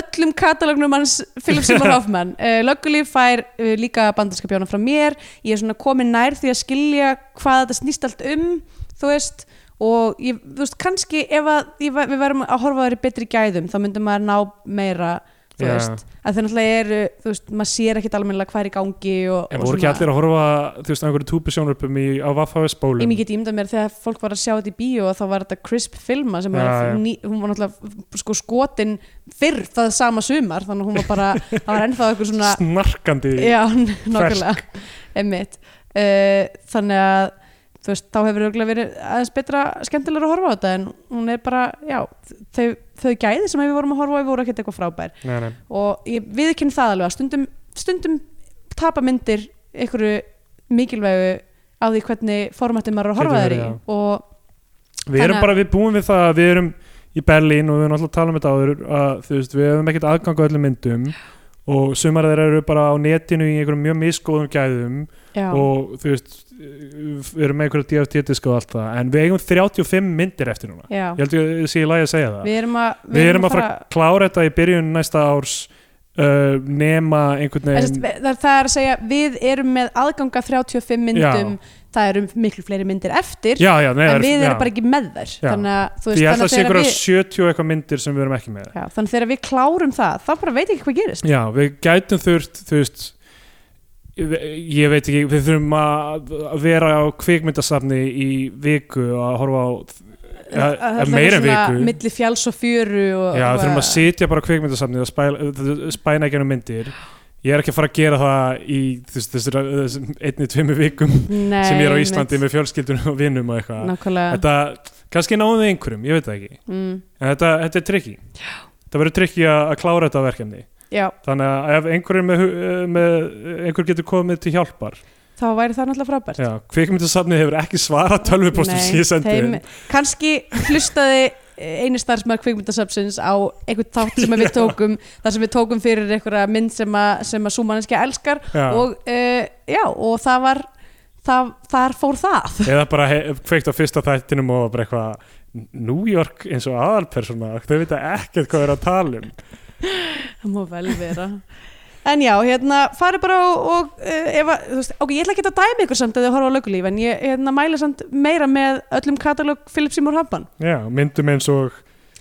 öllum katalognum hans Philip Seymour Hoffman uh, Löggulíf fær uh, líka bandarska bjána frá mér ég er svona komin nær því að skilja hvað þetta snýst allt um þú veist og ég, þú veist, kannski ef að, ég, væ- við værum að horfa á þeirri betri gæðum þá myndum maður ná meira þú Já. veist, að þau náttúrulega eru þú veist, maður sér ekkit almennilega hvað er í gangi og, En og voru ekki allir að horfa þú veist, á einhverju túpusjónröpum í, á Vaffaves Ég bólum mikið tímda mér þegar fólk var að sjá þetta í bíó og þá var þetta crisp filma sem Já, var, já. ný, hún var náttúrulega sko skotin fyrr það sama sumar þannig að hún var bara, það var ennþá eitthvað svona snarkandi já, nokkulega emitt uh, þannig að þú veist, þá hefur örugglega verið aðeins betra skemmtilega að horfa á þetta en hún er bara, já, þau, þau gæði sem við vorum að horfa á voru ekkert eitthvað frábær Nei, nei. og ég viðkynna það alveg að stundum, stundum tapa myndir einhverju mikilvægu á því hvernig formatið maður er að horfa Getur þær í verið, og Við Þannig erum að- bara, við búum við það að við erum í Berlín og við erum alltaf að tala um þetta áður að þú veist, við hefum ekkert aðgang á öllum myndum og sumar þeir eru bara á netinu í einhverjum mjög misgóðum gæðum já, og þú veist við erum með einhverja DFT-diska og allt það en við eigum 35 myndir eftir núna já. ég held ég að sé í lagi að segja það við erum að við erum að fara að klára þetta í byrjun næsta árs uh, nema einhvern En sem veginn sagt, það, það er að segja, við erum með aðganga 35 myndum, það eru miklu fleiri myndir eftir, já, já, nei, það en er- við erum já. bara ekki með þær Já. þannig að, þú Því veist, ég held þannig að að sé þegar einhverja við 70 og eitthvað myndir sem við erum ekki með já, þannig að þegar við klárum það, þá bara veit ég ekki hvað gerist Já, við gætum þurft þú veist ég ég veit ekki, við þurfum að að vera á kvikmyndasafni í viku og að horfa á ja, Það er meira en svona viku milli fjáls og fjöru og, Já, og þurfum að sitja bara á kvikmyndasafni og spæla, spæna ekki ennum myndir Ég er ekki að fara að gera það í þessir einni, tveimu vikum Nei, sem ég er á Íslandi einmitt. með fjölskyldunum og vinnum og eitthvað nákvæmlega Þetta, kannski náum við einhverjum, ég veit það ekki mm, En þetta, þetta er trikki Það verður trikki að að klára þetta verkefni Já, Þannig að ef einhver, er með, hu- með, einhver getur komið til hjálpar þá væri það náttúrulega frábært já, Kvikmyndasafnið hefur ekki svarað tölvupóstum Nei, sem ég sendi þeim- þeim. kannski hlustaði einu starfsmæður kvikmyndasafnsins á einhvern tátt sem að við tókum þar sem við tókum fyrir einhverja mynd sem að, sem að súmanniski elskar Já, og, uh, já, og það var það, þar fór það Eða bara he- kveikt á fyrsta þættinum og bara eitthvað New York eins og aðalpersona Þau vita ekkert hvað er að tala um það má vel vera en já, hérna, farið bara og, og uh, ef að, þú veist, ok, ég ætla ekki að dæmi ykkur samt að þið horfa á lögulíf, en ég hérna, mæli samt meira með öllum katalóg Philip Seymour Happan, Já, myndum eins og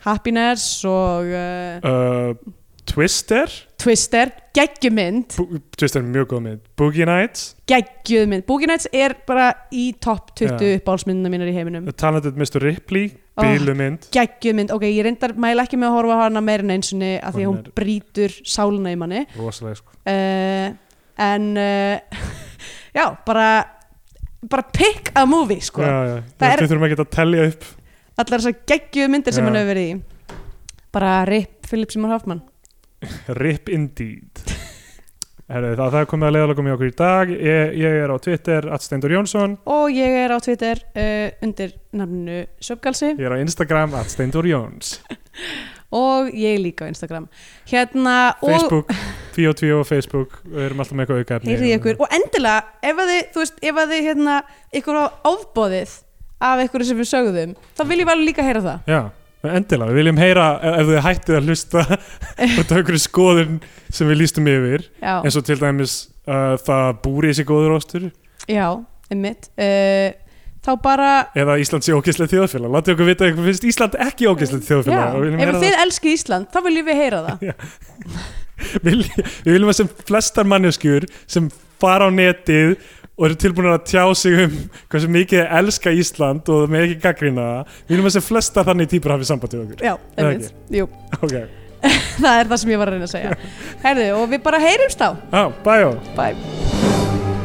Happiness og uh, uh, Twister Twister, geggjumynd Bo Twister er mjög góð mynd Boogie Nights, geggjuð mynd, Boogie Nights er bara í topp 20 Já. uppáhalsmyndina mínar í heiminum The Talented Mr. Ripley Oh. Bílumynd geggjuð mynd, ok, ég reyndar mæla ekki með að horfa á hana meira en einsunni af því að Hún hún er- brýtur sáluna í manni Rosalega sko uh, en uh, já, bara bara pick a movie sko. já, já. Það Við er- þurfum ekki að telja upp allar þessar geggjuð myndir sem Já. hann hefur verið í bara rip Philip Seymour Hoffman Rip indeed Herri, það, það er komið að leiðalögum í okkur í dag ég, ég er á Twitter, atsteindur Jónsson og ég er á Twitter uh, undir nafninu Söpgalsi ég er á Instagram, atsteindur Jóns og ég er líka á Instagram hérna og Facebook, 22 og Facebook við erum alltaf með eitthvað hérna. auka efni heyrði ykkur og endilega ef að þið, þú veist, ef að þið hérna, ykkur á ofbóðið af ykkur sem við sögðum þá viljum við alveg líka heyra það já, endilega, við viljum heyra ef, ef þið hættið að hlusta út af einhverju skoðun sem við lístum yfir já, eins og til dæmis uh, það búrið sér góður ástur já, einmitt uh, þá bara eða Ísland sé ógæslegt þjóðfélag látið okkur vita að ykkur finnst Ísland ekki ógæslegt já, þjóðfélag og við viljum ef heyra það. þið elski Ísland þá viljum við heyra það Vil- Við viljum að sem flestar manneskjur sem fara á netið og eru tilbúin að tjá sig um hversu mikið þið elska Ísland og með ekki gaggrina það Við viljum að sem flestar þannig týpur hafið samband við okkur já, einmitt, jú, Ok, það er það sem ég var að reyna að segja heyrðu, og við bara heyrumst þá á, bæjó bye